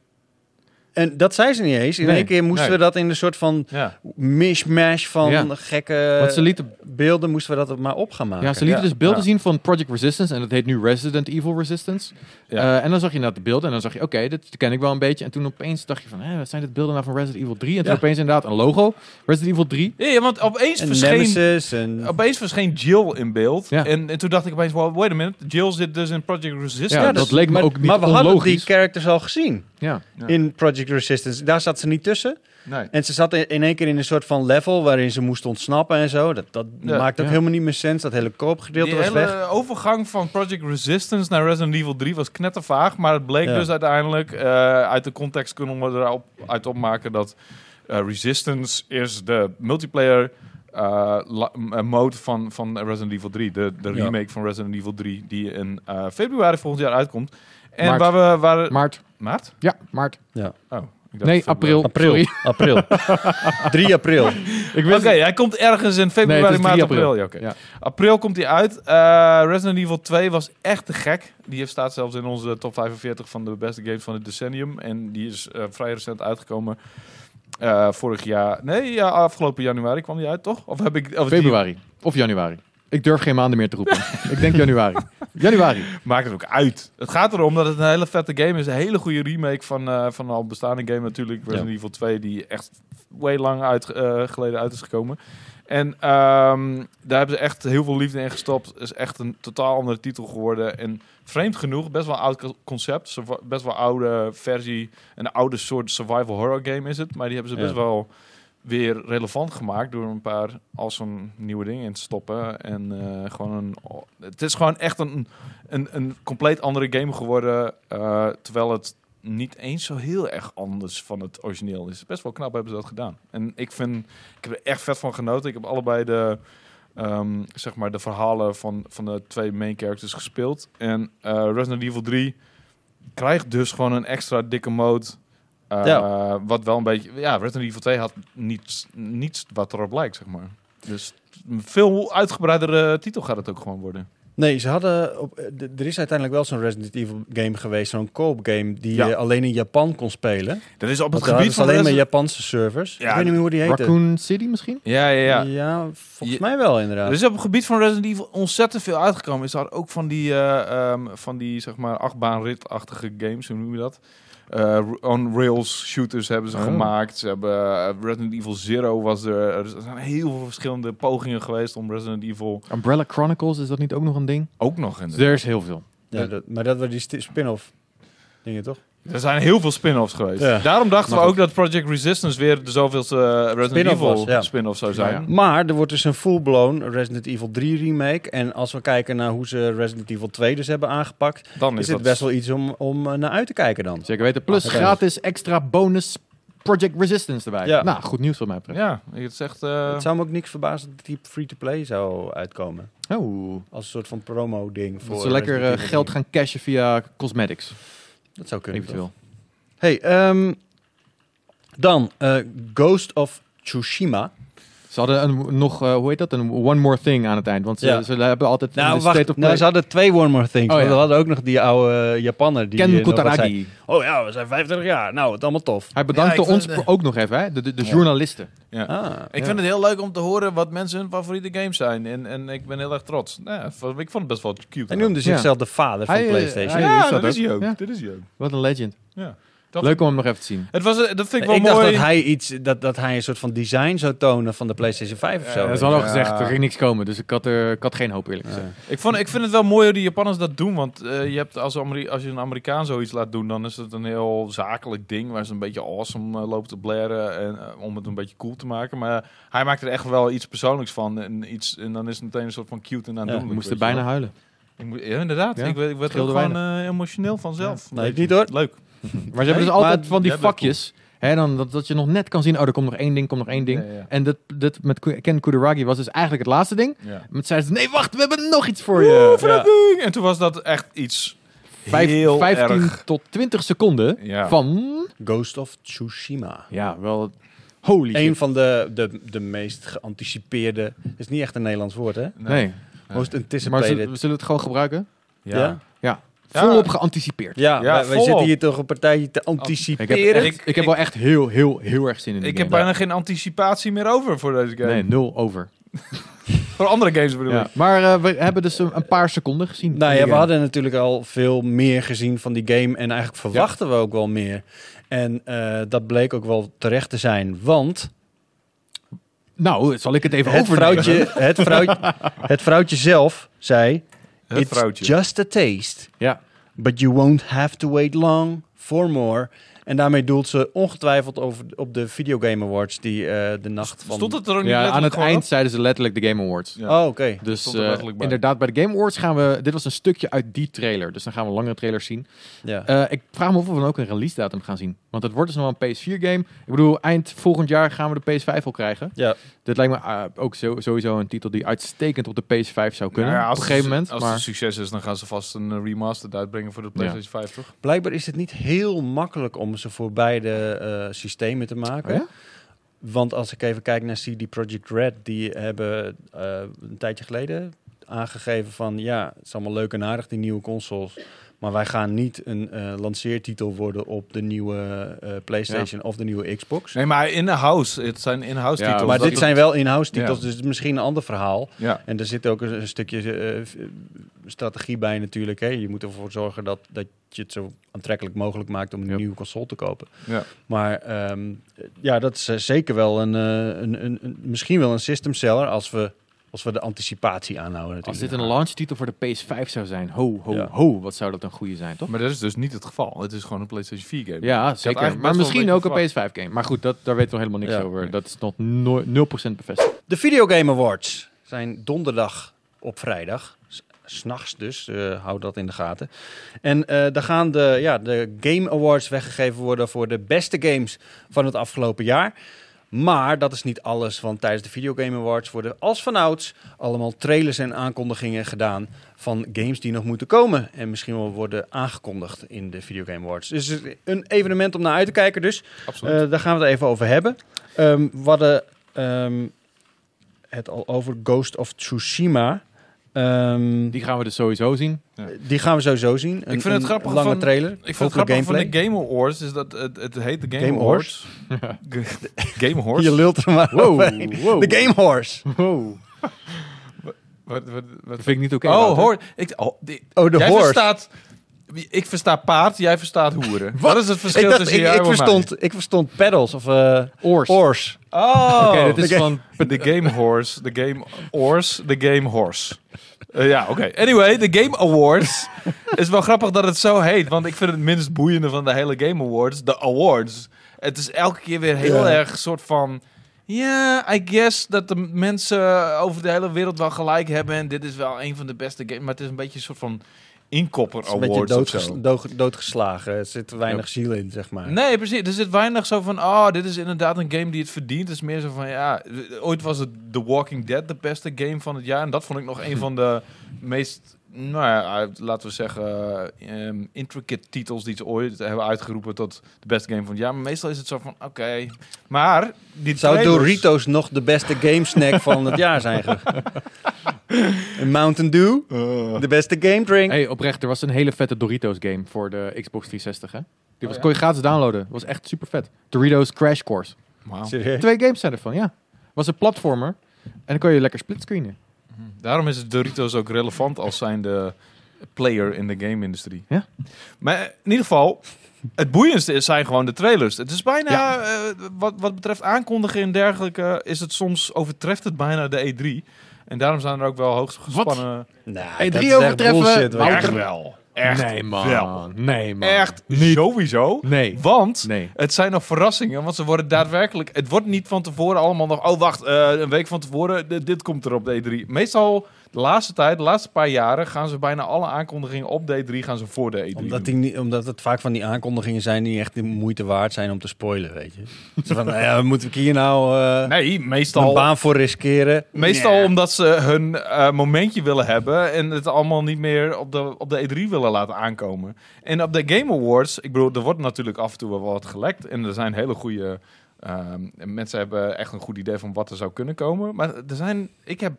En dat zei ze niet eens. In
Nee,
één keer moesten
nee.
we dat in een soort van
Ja.
mishmash van
Ja.
gekke
Want ze lieten,
beelden moesten we dat maar op gaan maken.
ja, ze lieten
ja,
dus beelden
ja.
zien van Project Resistance en dat heet nu Resident Evil Resistance.
Ja.
Eh, en dan zag je inderdaad de beelden en dan zag je, oké, dit ken ik wel een beetje. En toen opeens dacht je van, hé, wat zijn dit beelden nou van Resident Evil 3? En toen
Ja.
opeens inderdaad een logo, Resident Evil 3.
Ja, want opeens
en
verscheen...
Nemesis en...
Opeens verscheen Jill in beeld.
Ja.
En, en toen dacht ik opeens, well, wait a minute. Jill zit dus in Project Resistance.
Ja, dat
dus-
leek me
maar,
ook niet
Maar we hadden die
onlogisch.
characters al gezien
Ja.
Ja.
in Project Resistance. Daar zat ze niet tussen.
Nee.
En ze zat in in één keer in een soort van level waarin ze moest ontsnappen en zo. Dat, dat
Ja,
maakt ook
ja.
helemaal niet meer sens. Dat hele koopgedeelte
Die
was
hele
weg.
overgang van Project Resistance naar Resident Evil 3 was knettervaag. Maar het bleek
Ja.
dus uiteindelijk... eh, uit de context kunnen we eruit uit opmaken dat eh, Resistance is de multiplayer... eh, la- m- eh, mode van, van Resident Evil 3. De, de
Ja.
remake van Resident Evil 3 die in eh, februari volgend jaar uitkomt. En
Maart.
waar we... Waar,
Maart.
maart?
Ja, maart.
Oh, ik dacht
Nee,
februari.
april.
April.
Sorry.
April. 3 april.
Ik
Oké,
wist
hij komt ergens in
Nee,
februari,
het is 3
maart,
april.
april. Ja, oké.
Ja.
April komt hij uit. Eh, Resident Evil 2 was echt te gek. Die heeft- staat zelfs in onze top 45 van de beste games van het decennium. En die is eh, vrij recent uitgekomen. Eh, vorig jaar. Nee, ja, afgelopen januari kwam die uit, toch? Of heb ik. Of die-
Februari of januari. Ik durf geen maanden meer te roepen. ik denk januari. Januari.
Maakt het ook uit. Het gaat erom dat het een hele vette game is. Een hele goede remake van, eh, van een al bestaande game natuurlijk. Resident
Ja.
Evil 2, die echt way lang uit, eh, geleden uit is gekomen. En ehm, daar hebben ze echt heel veel liefde in gestopt. is echt een totaal andere titel geworden. En vreemd genoeg, best wel een oud co- concept. Survi- Best wel oude versie. Een oude soort survival horror game is het. Maar die hebben ze best
Ja.
wel weer relevant gemaakt door een paar als een nieuwe dingen in te stoppen en eh, gewoon een het is gewoon echt een een, een compleet andere game geworden. eh, terwijl het niet eens zo heel erg anders van het origineel is. Best wel knap hebben ze dat gedaan. En ik vind, ik heb er echt vet van genoten. Ik heb allebei de, ehm, zeg maar de verhalen van, van de twee main characters gespeeld. En eh, Resident Evil 3 krijgt dus gewoon een extra dikke mode. eh,
Ja.
Wat wel een beetje... Ja, Resident Evil 2 had niets, niets wat erop lijkt, zeg maar. Dus een veel uitgebreidere titel gaat het ook gewoon worden.
Nee, ze hadden op, eh, d- er is uiteindelijk wel zo'n Resident Evil game geweest, zo'n co-op game die
Ja.
je alleen in Japan kon spelen.
Dat
Want
is op het
daar hadden ze
gebied van
alleen maar
Resident-
Japanse servers.
Ja,
Ik weet niet meer hoe die heette.
Raccoon City misschien?
Ja, ja, ja.
volgens
Je- Dus-
mij wel inderdaad.
Er is op het gebied van Resident Evil ontzettend veel uitgekomen. Is daar ook van die, eh, ehm, van die zeg maar, achtbaanritachtige games, hoe noem je dat? Eh, On-rails shooters hebben ze
Oh.
gemaakt. Ze hebben eh, Resident Evil Zero was er. Er zijn heel veel verschillende pogingen geweest om Resident Evil
Umbrella Chronicles, is dat niet ook nog een ding?
ook nog in te
Dus Er is heel veel.
Ja, dat- maar dat was die sti- spin-off dingen toch?
Er zijn heel veel spin-offs geweest.
Ja.
Daarom dachten
Maar
we ook
goed.
dat Project Resistance weer de zoveelste eh, Resident
Spin-off
Evil
was, ja.
spin-off zou
Ja,
zijn.
ja.
Maar er wordt dus een full-blown Resident Evil 3 remake. En als we kijken naar hoe ze Resident Evil 2 dus hebben aangepakt, is,
Dan is,
dit
dat
best wel iets om, om eh, naar uit te kijken dan.
Zeker weten. Plus
Ach,
gratis extra bonus Project Resistance erbij.
Ja.
Nou, goed nieuws wat mij betreft.
Ja, het is echt... eh,
Het zou me ook niks verbazen dat die free-to-play zou uitkomen.
Oh.
Als een soort van promo-ding. voor
Dat ze lekker
Resident
eh,
Evil
geld
3.
gaan cashen via cosmetics,
Dat zou kunnen.
eventueel.
Hey, ehm, dan eh, Ghost of Tsushima.
Ze hadden een, nog, eh, hoe heet dat, een one more thing aan het eind. Want ze,
Ja.
ze hebben altijd in
Nou,
de
wacht.
state of
Nou, ze
play-
hadden twee One More Things.
Oh,
want
ja.
We hadden ook nog die oude eh, Japanner. Die, eh,
Ken
nog wat zei.
Kutaragi.
Oh ja, we zijn 25 jaar. Nou, het allemaal tof.
Hij bedankte
Ja, ik
ons
vind-
ook nog even, hè? De, de, de journalisten.
ja.
Ah,
Ik
Ja.
vind het heel leuk om te horen wat mensen hun favoriete games zijn. En, en ik ben heel erg trots. Nou ja, v- ik vond het best wel cute.
hij noemde zichzelf de vader van
Hij, eh,
PlayStation.
hij-
ja,
is dat
dat is
ook?
hij ook.
Ja.
Dit is hij ook.
Wat een legend.
Ja. Dat-
Leuk om hem nog even te zien.
Het was, eh, dat vind ik wel
ik dacht
mooi.
dat hij, iets, dat, dat hij een soort van design zou tonen van de PlayStation 5 of
Ja,
zo.
Dat
dat
is
is
al
wel
al
al
gezegd,
gezegd,
er
er
ging
ging
niks komen. Dus ik had, er, ik had geen hoop eerlijk gezegd.
Ik, vond, ik vind het wel mooi hoe de Japanners dat doen. Want eh, je hebt als, Ameri- als je een Amerikaan zoiets laat doen, dan is het een heel zakelijk ding. Waar ze een beetje awesome eh, lopen te blaren. En, eh, om het een beetje cool te maken. Maar hij maakt er echt wel iets persoonlijks van. En, iets, en dan is het meteen een soort van cute en aandoenlijk.
Ik moest er
weet je
bijna
wel.
huilen.
Ik moet- ja, inderdaad.
Ja,
Ik, werd- ik werd er ook
scheelde
gewoon eh, emotioneel vanzelf.
Nee, ik niet, hoor.
Leuk.
Maar ze hebben dus
maar
altijd van die
jij bent
vakjes. Hè, dan, dat, dat je nog net kan zien, oh, er komt nog één ding, komt nog één ding.
Ja, ja.
En dat, dat met Ku- Ken Kudaragi was dus eigenlijk het laatste ding.
Ja.
Maar toen zeiden ze, nee, wacht, we hebben nog iets voor je.
Oeh, voor dat ding. En toen was dat echt iets
Vijf-
heel
15
erg.
tot 20 seconden
Ja.
van...
Ghost of Tsushima.
Ja, wel... Holy
Een
shit.
van de, de, de meest geanticipeerde... Het is niet echt een Nederlands woord, hè?
Nee,
Most
maar
anticipated.
zullen, we zullen het gewoon gebruiken?
ja?
Ja.
Ja.
Ja.
Volop geanticipeerd.
Ja, Oh,
Ja,
wij, wij
volop.
zitten hier toch een partijtje te
Ik
anticiperen.
heb, echt-
Ik-
ik heb wel echt heel, heel, heel erg zin in die
Ik heb
game.
bijna geen anticipatie meer over voor deze game.
Nee, nul over.
Voor andere games bedoel
Ja.
ik.
Maar eh, we hebben dus een, een paar seconden gezien.
Nou
van
ja,
die
we
game.
hadden natuurlijk al veel meer gezien van die game. En eigenlijk verwachten we ook wel meer. En eh, dat bleek ook wel terecht te zijn. Want
Nou, zal ik het even
het
overnemen?
vrouwtje, het, vrouwtje, het vrouwtje zelf zei...
Het
It's
vrouwtje.
just a taste.
Ja.
But you won't have to wait long for more. En daarmee doelt ze ongetwijfeld over, op de Videogame Awards... die eh, de nacht van...
Stond het er ook niet
ja, aan het
letterlijk
eind
gewoon
zeiden ze letterlijk de Game Awards.
Ja.
Oh, oké.
Dus
Stond er
eh,
letterlijk bij.
inderdaad, bij de Game Awards gaan we... Dit was een stukje uit die trailer. Dus dan gaan we langere trailers zien.
Ja.
Eh, ik vraag me of we dan ook een release datum gaan zien. Want het wordt dus nog wel een PS4-game. Ik bedoel, eind volgend jaar gaan we de PS5 al krijgen.
ja.
Dit lijkt me eh, ook zo, sowieso een titel die uitstekend op de PS5 zou
op?
kunnen.
Nou ja,
op een gegeven moment.
Als
maar...
het succes is, dan gaan ze vast een eh, remastered uitbrengen voor de PlayStation 5, toch?
Blijkbaar is het niet heel makkelijk om ze voor beide eh, systemen te maken.
Oh ja?
Want als ik even kijk naar CD Projekt Red, die hebben eh, een tijdje geleden aangegeven van ja, het is allemaal leuk en aardig die nieuwe consoles, Maar wij gaan niet een eh, lanceertitel worden op de nieuwe eh, PlayStation of de nieuwe Xbox.
Nee, maar in-house. Het zijn in-house
Ja,
titels.
maar
Dat
dit
is-
zijn wel in-house titels,
Ja.
dus het is misschien een ander verhaal.
Ja.
En er zit ook een, een stukje eh, f- strategie bij natuurlijk. Hè. Je moet ervoor zorgen dat, dat je het zo aantrekkelijk mogelijk maakt om een
Ja.
nieuwe console te kopen.
Ja.
Maar ehm, ja, dat is eh, zeker wel een, eh, een, een, een- misschien wel een system seller als we, als we de anticipatie aanhouden
Als
natuurlijk.
dit een launchtitel voor de PS5 zou zijn, ho, ho,
Ja.
ho, wat zou dat een goede zijn, toch?
Maar dat is dus niet het geval. Het is gewoon een PlayStation 4 game.
Ja,
eigenlijk
zeker.
best
Maar
wel
misschien
een
ook
beetje
een PS5-game. Maar goed, dat, daar weten we helemaal niks
Ja.
over. Dat is nog nooit 0% bevestigd.
De Video Game Awards zijn donderdag op vrijdag. S- S'nachts dus, eh, hou dat in de gaten. En eh, daar gaan de, ja, de Game Awards weggegeven worden voor de beste games van het afgelopen jaar. Maar dat is niet alles, want tijdens de Video Game Awards worden als vanouds allemaal trailers en aankondigingen gedaan van games die nog moeten komen. En misschien wel worden aangekondigd in de Video Game Awards. Dus het is een evenement om naar uit te kijken dus.
Absoluut.
Eh, daar gaan we het even over hebben. Ehm, we hadden ehm, het al over Ghost of Tsushima. Ehm, die,
Die gaan we dus sowieso zien.
gaan we sowieso zien. Een,
vind het
een
grappig
lange
van-
trailer.
Ik vond het
Hopelijk
grappig van de Game Awards is dat het, het heet de Game,
Game
Awards. Game
Je
Awards.
lult er maar overheen.
wow.
De Game Horse.
Wow.
Wat, wat, wat-
Dat vind ik niet oké.
oh,
Wouter.
hoor. Ik, oh, die-
Oh, de
jij
horse.
verstaat. Ik versta paard, jij verstaat hoeren. Wat is het verschil
Ik, dacht,
tussen
ik,
jou
ik,
en mij?
verstond, ik verstond pedals of eh
Oors.
oars.
Oh,
Oké, dit is
Oké.
van...
de Game Horse, de Game Horse, de Game Horse. Eh, ja, oké. Anyway, de Game Awards is wel grappig dat het zo heet, want ik vind het minst boeiende van de hele Game Awards, de awards. Het is elke keer weer heel
Ja.
erg soort van, ja, I guess dat de mensen over de hele wereld wel gelijk hebben en dit is wel een van de beste games, maar het is een beetje een soort van inkopper
Het is een beetje
awards of zo.
doodges- dood- doodgeslagen. Er zit weinig ziel in, zeg maar.
Nee, precies. Er zit weinig zo van, oh, dit is inderdaad een game die het verdient. Het is meer zo van, ja, ooit was het The Walking Dead de beste game van het jaar. En dat vond ik nog een van de meest, nou ja, eh, laten we zeggen, ehm, intricate titels die ze ooit hebben uitgeroepen tot de beste game van het jaar. Maar meestal is het zo van, oké, maar... Die
Zou
trailers-
Doritos nog de beste gamesnack van het jaar zijn? ge- Een Mountain Dew?
Oh.
De beste game drink?
Hey, oprecht, er was een hele vette Doritos-game voor de Xbox 360, hè? Die was,
Oh, ja?
kon je gratis downloaden. was echt super vet. Doritos Crash Course.
Wauw.
Serieus?
Twee games zijn ervan, ja. Was een platformer. En dan kon je lekker splitscreenen.
Daarom is het Doritos ook relevant als zijnde player in de game-industrie.
Ja.
Maar eh, in ieder geval, het boeiendste is- zijn gewoon de trailers. Het is bijna, eh, wat, wat betreft aankondigen en dergelijke, is het soms overtreft het bijna de E3. En daarom zijn er ook wel hoogst gespannen...
Nou,
Hey,
dat
drie
is echt
overtreffen.
bullshit, hoor.
Wouter-
Echt wel. Echt
nee, man.
wel.
Nee, man.
Echt sowieso.
Nee.
Want
Nee.
het zijn nog verrassingen, want ze worden daadwerkelijk... Het wordt niet van tevoren allemaal nog... Oh, wacht, eh, een week van tevoren, dit- dit komt er op D3. Meestal, de laatste tijd, de laatste paar jaren... gaan ze bijna alle aankondigingen op D3 gaan ze voor de E3
Omdat, die,
doen.
niet- omdat het vaak van die aankondigingen zijn die echt de moeite waard zijn om te spoilen, weet je. Zo van, nou ja, moet ik hier nou eh
Nee,
een
meestal...
baan voor riskeren?
Meestal
Nee.
omdat ze hun eh, momentje willen hebben en het allemaal niet meer op de, op de E3 willen laten aankomen. En op de Game Awards, ik bedoel, er wordt natuurlijk af en toe wel wat gelekt. En er zijn hele goede. ehm, mensen hebben echt een goed idee van wat er zou kunnen komen. Maar er zijn. Ik heb,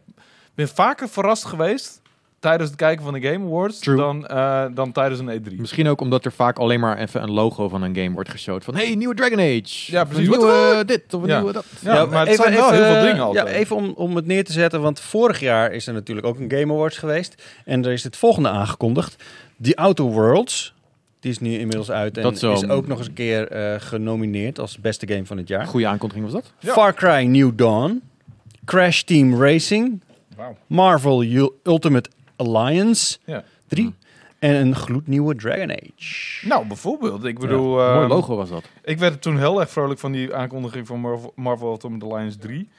ben vaker verrast geweest tijdens het kijken van de Game Awards
True.
dan, eh, dan tijdens een E3.
Misschien ook omdat er vaak alleen maar even een logo van een game wordt geshowd. Van, hey, nieuwe Dragon Age.
Ja,
Of
precies.
Een nieuwe dit, of een
Ja.
nieuwe dat.
Ja, maar het zijn wel heel veel dingen altijd.
eh, Ja, even om, om het neer te zetten, want vorig jaar is er natuurlijk ook een Game Awards geweest. En er is het volgende aangekondigd. The Outer Worlds, die is nu inmiddels uit en
Dat zo.
is ook nog eens een keer eh, genomineerd als beste game van het jaar.
Goede aankondiging was dat.
Ja.
Far Cry New Dawn, Crash Team Racing,
Wauw.
Marvel U- Ultimate Alliance
Ja.
3 en een gloednieuwe Dragon Age.
Nou, bijvoorbeeld. Ik bedoel.
Mooi
ehm,
logo was dat.
Ik werd toen heel erg vrolijk van die aankondiging van Marvel, Marvel Ultimate Alliance 3.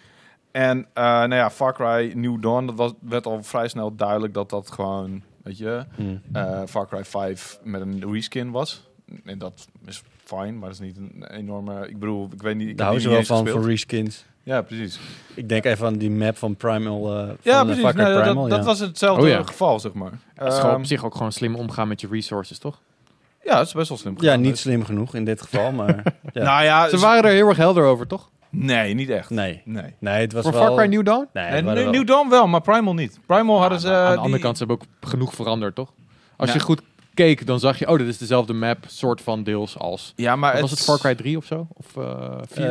En eh, nou ja, Far Cry New Dawn, dat was, werd al vrij snel duidelijk dat dat gewoon, weet je, eh, Far Cry 5 met een reskin was. En dat is fijn, maar dat is niet een enorme... Ik bedoel, ik weet niet... Ik
Daar
heb
houden
die
ze
niet
wel
eens
van,
gespeeld.
van reskins.
Ja, precies.
Ik denk even aan die map van Primal. eh, van
Ja,
eh,
precies.
Far Cry
Nou, dat-
Primal,
dat,
ja.
was hetzelfde
Oh, ja.
geval, zeg maar.
Het is gewoon
Ehm,
op zich ook gewoon slim omgaan met je resources, toch?
ja, het is best wel slim.
Ja,
gedaan,
niet
dus.
slim genoeg in dit geval, maar ja.
Nou ja,
Ze
ze-
waren er heel erg helder over, toch?
Nee, niet echt.
nee.
Nee.
Nee, het was
Voor
wel...
Far Cry New Dawn?
Nee,
Nee,
het waren
New,
wel-
New Dawn wel, maar Primal niet. Primal hadden ze...
aan de
eh,
andere
die-
kant, ze hebben ook genoeg veranderd, toch? Als
Ja.
je goed keek, dan zag je, oh, dit is dezelfde map, soort van deels als.
Ja, maar
was het Far Cry 3 of zo? Of eh 4?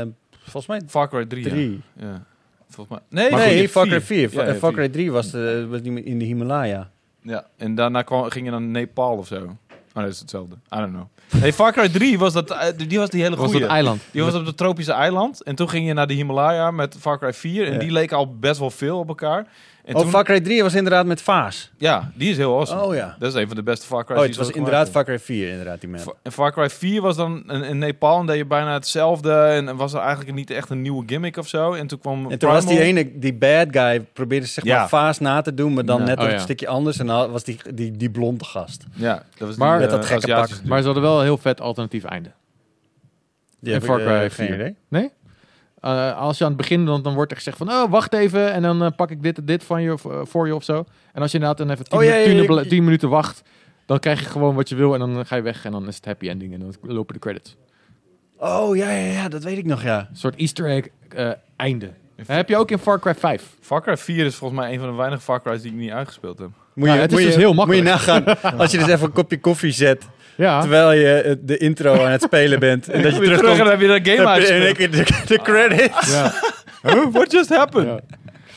Eh, volgens mij
Far Cry 3. ja.
3.
Ja. Volgens mij. Nee,
Nee,
nee,
Far Cry 4.
Ja, ja,
Far
vier.
Cry 3 Eh, was, de, was die in de Himalaya.
Ja, en daarna kwam, ging je naar Nepal of zo. Oh, dat is hetzelfde. I don't know. Nee, Far Cry 3 was dat, eh, die was die hele
was dat
goede.
eiland?
Die was op het tropische eiland. En toen ging je naar de Himalaya met Far Cry 4. En
Ja.
die leken al best wel veel op elkaar. En
oh,
toen-
Far Cry 3 was inderdaad met Vaas.
Ja, die is heel awesome.
Oh ja.
Dat is een van de beste Far
Oh,
Cry's die
het
ze
was
ooit
inderdaad
gemaakt
Far Cry 4, inderdaad, die map.
hebben. En Far Cry 4 was dan in, in Nepal en deed je bijna hetzelfde. En, en was er eigenlijk niet echt een nieuwe gimmick of zo. En toen kwam
En toen was die
Primal.
ene, die bad guy, probeerde zeg
Ja.
maar Vaas na te doen, maar dan
Ja.
net
Oh,
een
ja.
stukje anders. En dan was die, die, die blonde gast.
Ja, dat was
Maar-
die,
Met dat
eh,
gekke pak.
Aziatische dude.
Maar ze hadden wel een heel vet alternatief einde.
Die
En
heb ik,
Far
eh,
Cry
geen
4.
idee.
Nee? Eh, als je aan het begin, dan, dan wordt er gezegd van, oh, wacht even. En dan eh, pak ik dit en dit van je, of, eh, voor je of zo. En als je inderdaad dan even tien,
Oh, ja, ja,
tien-
ja,
bla-
ik-
tien minuten wacht, dan krijg je gewoon wat je wil. En dan ga je weg en dan is het happy ending. En dan lopen de credits.
Oh, ja, ja, ja, dat weet ik nog, ja.
Nou,
Een soort easter egg eh, einde. Dat heb je ook in Far Cry 5.
Far Cry 4 is volgens mij een van de weinige Far Cry's die ik niet uitgespeeld heb.
Moet
Ja, het is
moet
dus heel makkelijk.
Moet je nagaan, als je dus even een kopje koffie zet,
Ja.
terwijl je eh, de intro aan het spelen bent. En dat je
Terug en dan
terugkomt,
heb je dat game
heb je in één
uitgespeeld.
keer de, de credits.
ja.
Huh? What just happened?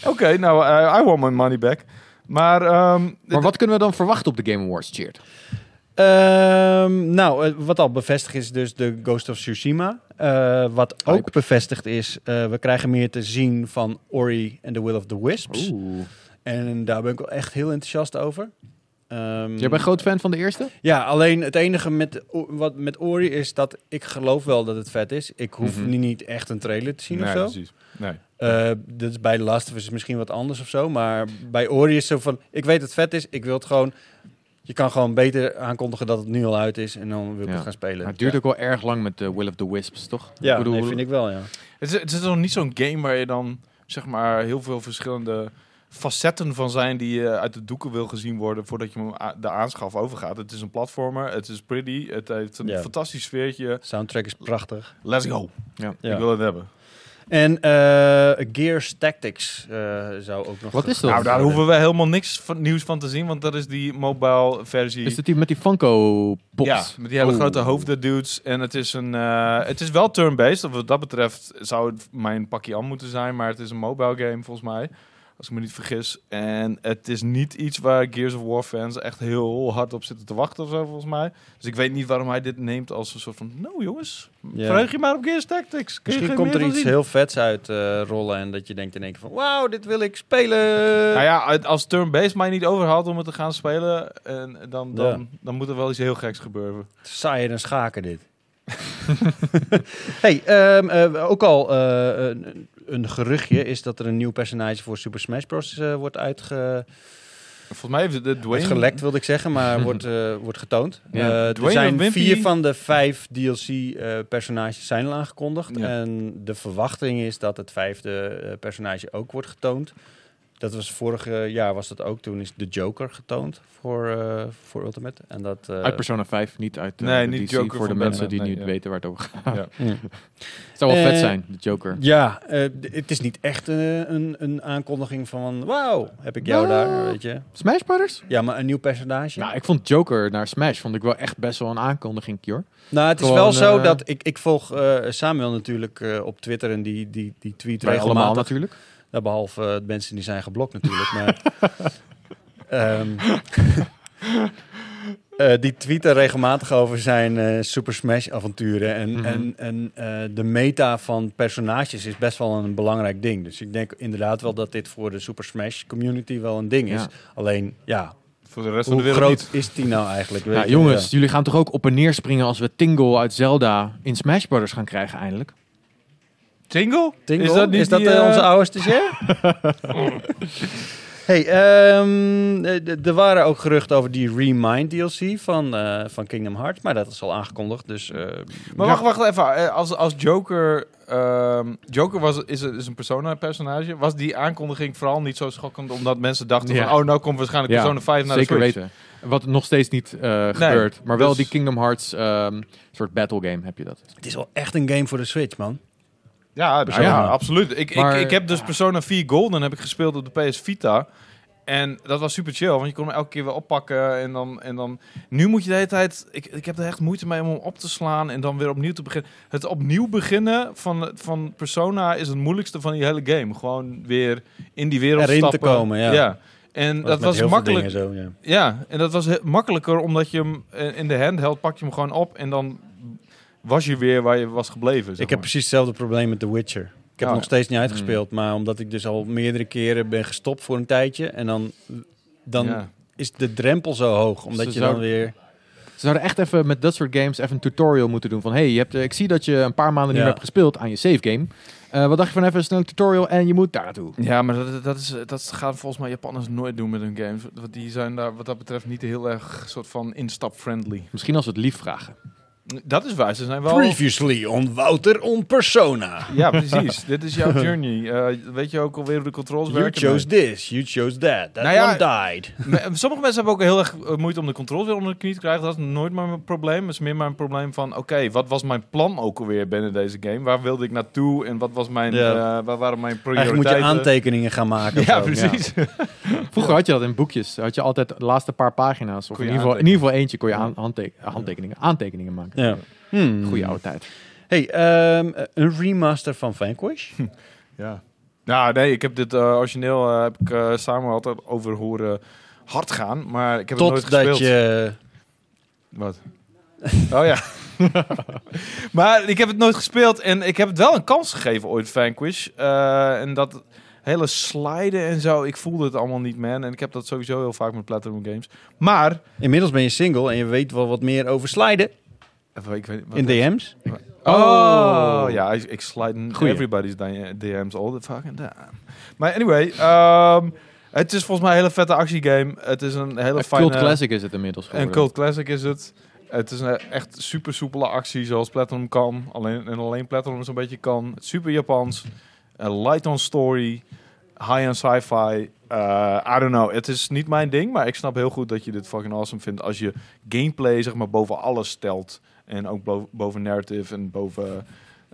Ja.
Oké, nou, eh, I want my money back. Maar, ehm,
Maar wat kunnen we dan verwachten op de Game Awards, Cheert?
Hmm. Ehm, nou, eh, wat al bevestigd is dus de Ghost of Tsushima. Eh, wat ook
Hype.
bevestigd is, eh, we krijgen meer te zien van Ori and the Will of the Wisps. En daar ben ik wel echt heel enthousiast over. Ehm,
Jij bent groot fan van de eerste?
Ja, alleen het enige met, O- wat met Ori is dat ik geloof wel dat het vet is. Ik hoef
Mhm.
nu niet echt een trailer te zien
nee,
of zo.
precies. Nee.
Eh, dat is bij The Last of Us misschien wat anders of zo. Maar bij Ori is zo van... Ik weet dat het vet is. Ik wil het gewoon... Je kan gewoon beter aankondigen dat het nu al uit is. En dan wil ik
Ja.
het gaan spelen.
Maar Nou, het duurt
ja.
ook wel erg lang met de Will of the Wisps, toch?
Ja,
bedoel-
nee, vind ik wel, ja.
Het is, het is nog niet zo'n game waar je dan, zeg maar, heel veel verschillende facetten van zijn die je uit de doeken wil gezien worden voordat je hem a- de aanschaf overgaat. Het is een platformer, het is pretty, het heeft een
Ja.
fantastisch sfeertje.
Soundtrack is prachtig.
Let's go.
Ja.
Ja.
Ik wil het hebben.
En eh, Gears Tactics eh, zou ook nog...
Wat is dat?
Nou, daar hoeven we helemaal niks van, nieuws van te zien, want dat is die mobile versie.
Is het die met die Funko-pops?
Ja, met die hele
Oh.
grote hoofden dudes. En het is, een, eh, het is wel turn-based. Wat dat betreft zou het mijn pakje aan moeten zijn. Maar het is een mobile game volgens mij. Als ik me niet vergis. En het is niet iets waar Gears of War fans echt heel hard op zitten te wachten of zo volgens mij. Dus ik weet niet waarom hij dit neemt als een soort van... Nou jongens,
Ja.
verheug je maar op Gears Tactics. Kun je
Misschien
geen
komt
meer
er
van
iets
zien?
heel vets uit eh, rollen. En dat je denkt in één keer van... Wauw, dit wil ik spelen!
Nou ja, uit- als turn-based mij niet overhaalt om het te gaan spelen... En dan, dan, dan moet er wel iets heel geks gebeuren.
Saaier dan schaken dit. hey, ehm, eh, ook al eh, een, een geruchtje is dat er een nieuw personage voor Super Smash Bros. eh, wordt uitge,
Volgens mij heeft de Dwayne...
uitgelekt, wilde ik zeggen, maar wordt, eh, wordt getoond.
Ja.
Eh,
Dwayne
er zijn
Wimpy.
vier van de vijf DLC-personages eh, zijn al aangekondigd.
Ja.
En de verwachting is dat het vijfde eh, personage ook wordt getoond. Dat was vorig jaar was dat ook. Toen is de Joker getoond voor, eh, voor Ultimate. En dat, eh,
Uit Persona 5, niet uit eh,
Nee,
de
niet
DC,
Joker
voor de
van
mensen
Batman,
die
nee,
niet
ja.
weten waar het over gaat.
Ja.
hm.
Het zou wel
Eh,
vet zijn, de Joker.
Ja, eh, d- het is niet echt eh, een, een aankondiging van wauw, heb ik jou daar,
Wauw.
weet je.
Smash Brothers?
Ja, maar een nieuw personage.
Nou, ik vond Joker naar Smash vond ik wel echt best wel een aankondiging, hoor.
nou, het is
gewoon,
wel zo
eh,
dat ik, ik volg eh, Samuel natuurlijk eh, op Twitter en die, die, die tweet
Wij allemaal
regelmatig.
natuurlijk.
Nou, behalve eh, de mensen die zijn geblokt natuurlijk. maar, ehm, eh, die tweeten regelmatig over zijn eh, Super Smash avonturen. En,
Mhm.
en, en eh, de meta van personages is best wel een belangrijk ding. Dus ik denk inderdaad wel dat dit voor de Super Smash community wel een ding is.
Ja.
Alleen, ja,
Voor de rest van de
hoe
wereld niet.
groot is die nou eigenlijk? Weet
Ja,
je,
jongens,
ja.
jullie gaan toch ook op en neer springen als we Tingle uit Zelda in Smash Brothers gaan krijgen eindelijk?
Tingle?
Tingle?
Is dat, niet die,
eh,
eh,
onze oude stagiair? hey, ehm, eh, d- er waren ook geruchten over die Remind DLC van, eh, van Kingdom Hearts, maar dat is al aangekondigd, dus... eh,
Maar
ja.
wacht, wacht even. Eh, Als, als Joker... ehm, Joker was, is, een- is een Persona-personage. Was die aankondiging vooral niet zo schokkend... omdat mensen dachten
Ja.
van... oh, nou komt waarschijnlijk
Ja,
Persona 5 naar
Zeker
de Switch.
weten. Wat nog steeds niet eh, gebeurt. Maar wel
dus-
die Kingdom Hearts ehm, soort battle game heb je dat.
Het is wel echt een game voor de Switch, man.
Ja, nou
Persona.
ja, absoluut. Ik,
Maar-
ik, ik heb dus Persona 4 Golden heb ik gespeeld op de PS Vita... En dat was super chill, want je kon hem elke keer weer oppakken. En dan, en dan nu moet je de hele tijd. Ik, ik heb er echt moeite mee om hem op te slaan en dan weer opnieuw te beginnen. Het opnieuw beginnen van, van Persona is het moeilijkste van die hele game. Gewoon weer in die wereld
Erin te
stappen.
komen, ja.
En
met
dat was
heel veel
makkelijk.
dingen Zo, ja.
Ja, en dat was he- makkelijker omdat je hem eh, in de handheld pak je hem gewoon op en dan was je weer waar je was gebleven. zeg
Ik heb
maar.
precies hetzelfde probleem met The Witcher. Ik heb
Oh,
het
ja.
nog steeds niet uitgespeeld, maar omdat ik dus al meerdere keren ben gestopt voor een tijdje en dan, dan
Ja.
is de drempel zo hoog, omdat
Ze
je
zou-
dan weer...
Ze zouden echt even met dat soort games even een tutorial moeten doen. Van, hey, je hebt, eh, ik zie dat je een paar maanden niet
Ja.
meer hebt gespeeld aan je save game. Eh, wat dacht je van even een snelle tutorial en je moet daar naartoe.
Ja, maar dat, dat, is, dat gaan volgens mij Japanners nooit doen met hun games. Want die zijn daar wat dat betreft niet heel erg soort van instap-friendly.
Misschien als we het lief vragen.
Dat is waar, ze zijn wel...
Previously on Wouter on Persona.
Ja, precies. Dit is jouw journey. Eh, weet je ook alweer hoe de controls
You
werken?
chose this, you chose that, that
Nou ja,
one died.
Nee. Me- Sommige mensen hebben ook heel erg eh, moeite om de controls weer onder de knie te krijgen. Dat is nooit mijn probleem. Dat is meer mijn probleem van... Oké, wat was mijn plan ook alweer binnen deze game? Waar wilde ik naartoe? En wat was mijn...
Ja.
eh, waar waren mijn
Eigenlijk moet
prioriteiten?
je aantekeningen gaan maken. of
Ja,
zo,
precies.
Vroeger had je dat in boekjes. Had je altijd de laatste paar pagina's. Of
Kon
in
je
ieder, geval, in ieder geval eentje kon je aan- handtek- handtekeningen, aantekeningen maken.
Ja. Hmm.
Goeie oude tijd.
Hey, ehm, een remaster van Vanquish.
Ja. Nou, nee, ik heb dit eh, origineel eh, heb ik eh, samen altijd over horen hard gaan, maar ik heb het nooit gespeeld.
Totdat je...
Wat? oh ja. maar ik heb het nooit gespeeld en ik heb het wel een kans gegeven ooit, Vanquish. Eh, en dat hele sliden en zo, ik voelde het allemaal niet, man. En ik heb dat sowieso heel vaak met Platinum Games. Maar...
Inmiddels ben je single en je weet wel wat meer over sliden
Even, ik weet, wat-
in DM's.
Oh, ja, ik, ik slide in
Goeie.
everybody's di- DM's all the fucking time. Maar anyway, ehm, het is volgens mij een hele vette actiegame. Het is een hele
Een
fijne...
cult classic is het inmiddels
Een
geworden.
cult classic is het. Het is een echt super soepele actie zoals Platinum kan. Alleen, en alleen Platinum zo'n beetje kan. Super Japans. Een light on story. High on sci-fi. Eh, I don't know. Het is niet mijn ding, maar ik snap heel goed dat je dit fucking awesome vindt als je gameplay zeg maar boven alles stelt. En ook bo- boven narrative en boven,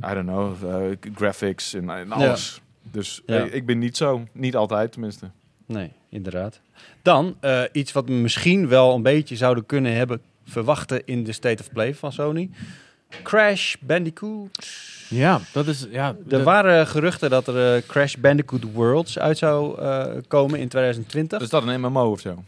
I don't know, eh, graphics en, en alles. Dus
Ja.
ik, ik ben niet zo. Niet altijd tenminste.
Nee, inderdaad. Dan eh, iets wat we misschien wel een beetje zouden kunnen hebben verwachten in de State of Play van Sony. Crash Bandicoot.
Ja, dat is... Ja,
Er
dat-
waren geruchten dat er eh, Crash Bandicoot Worlds uit zou eh, komen in 2020.
Is Dus dat een MMO of zo?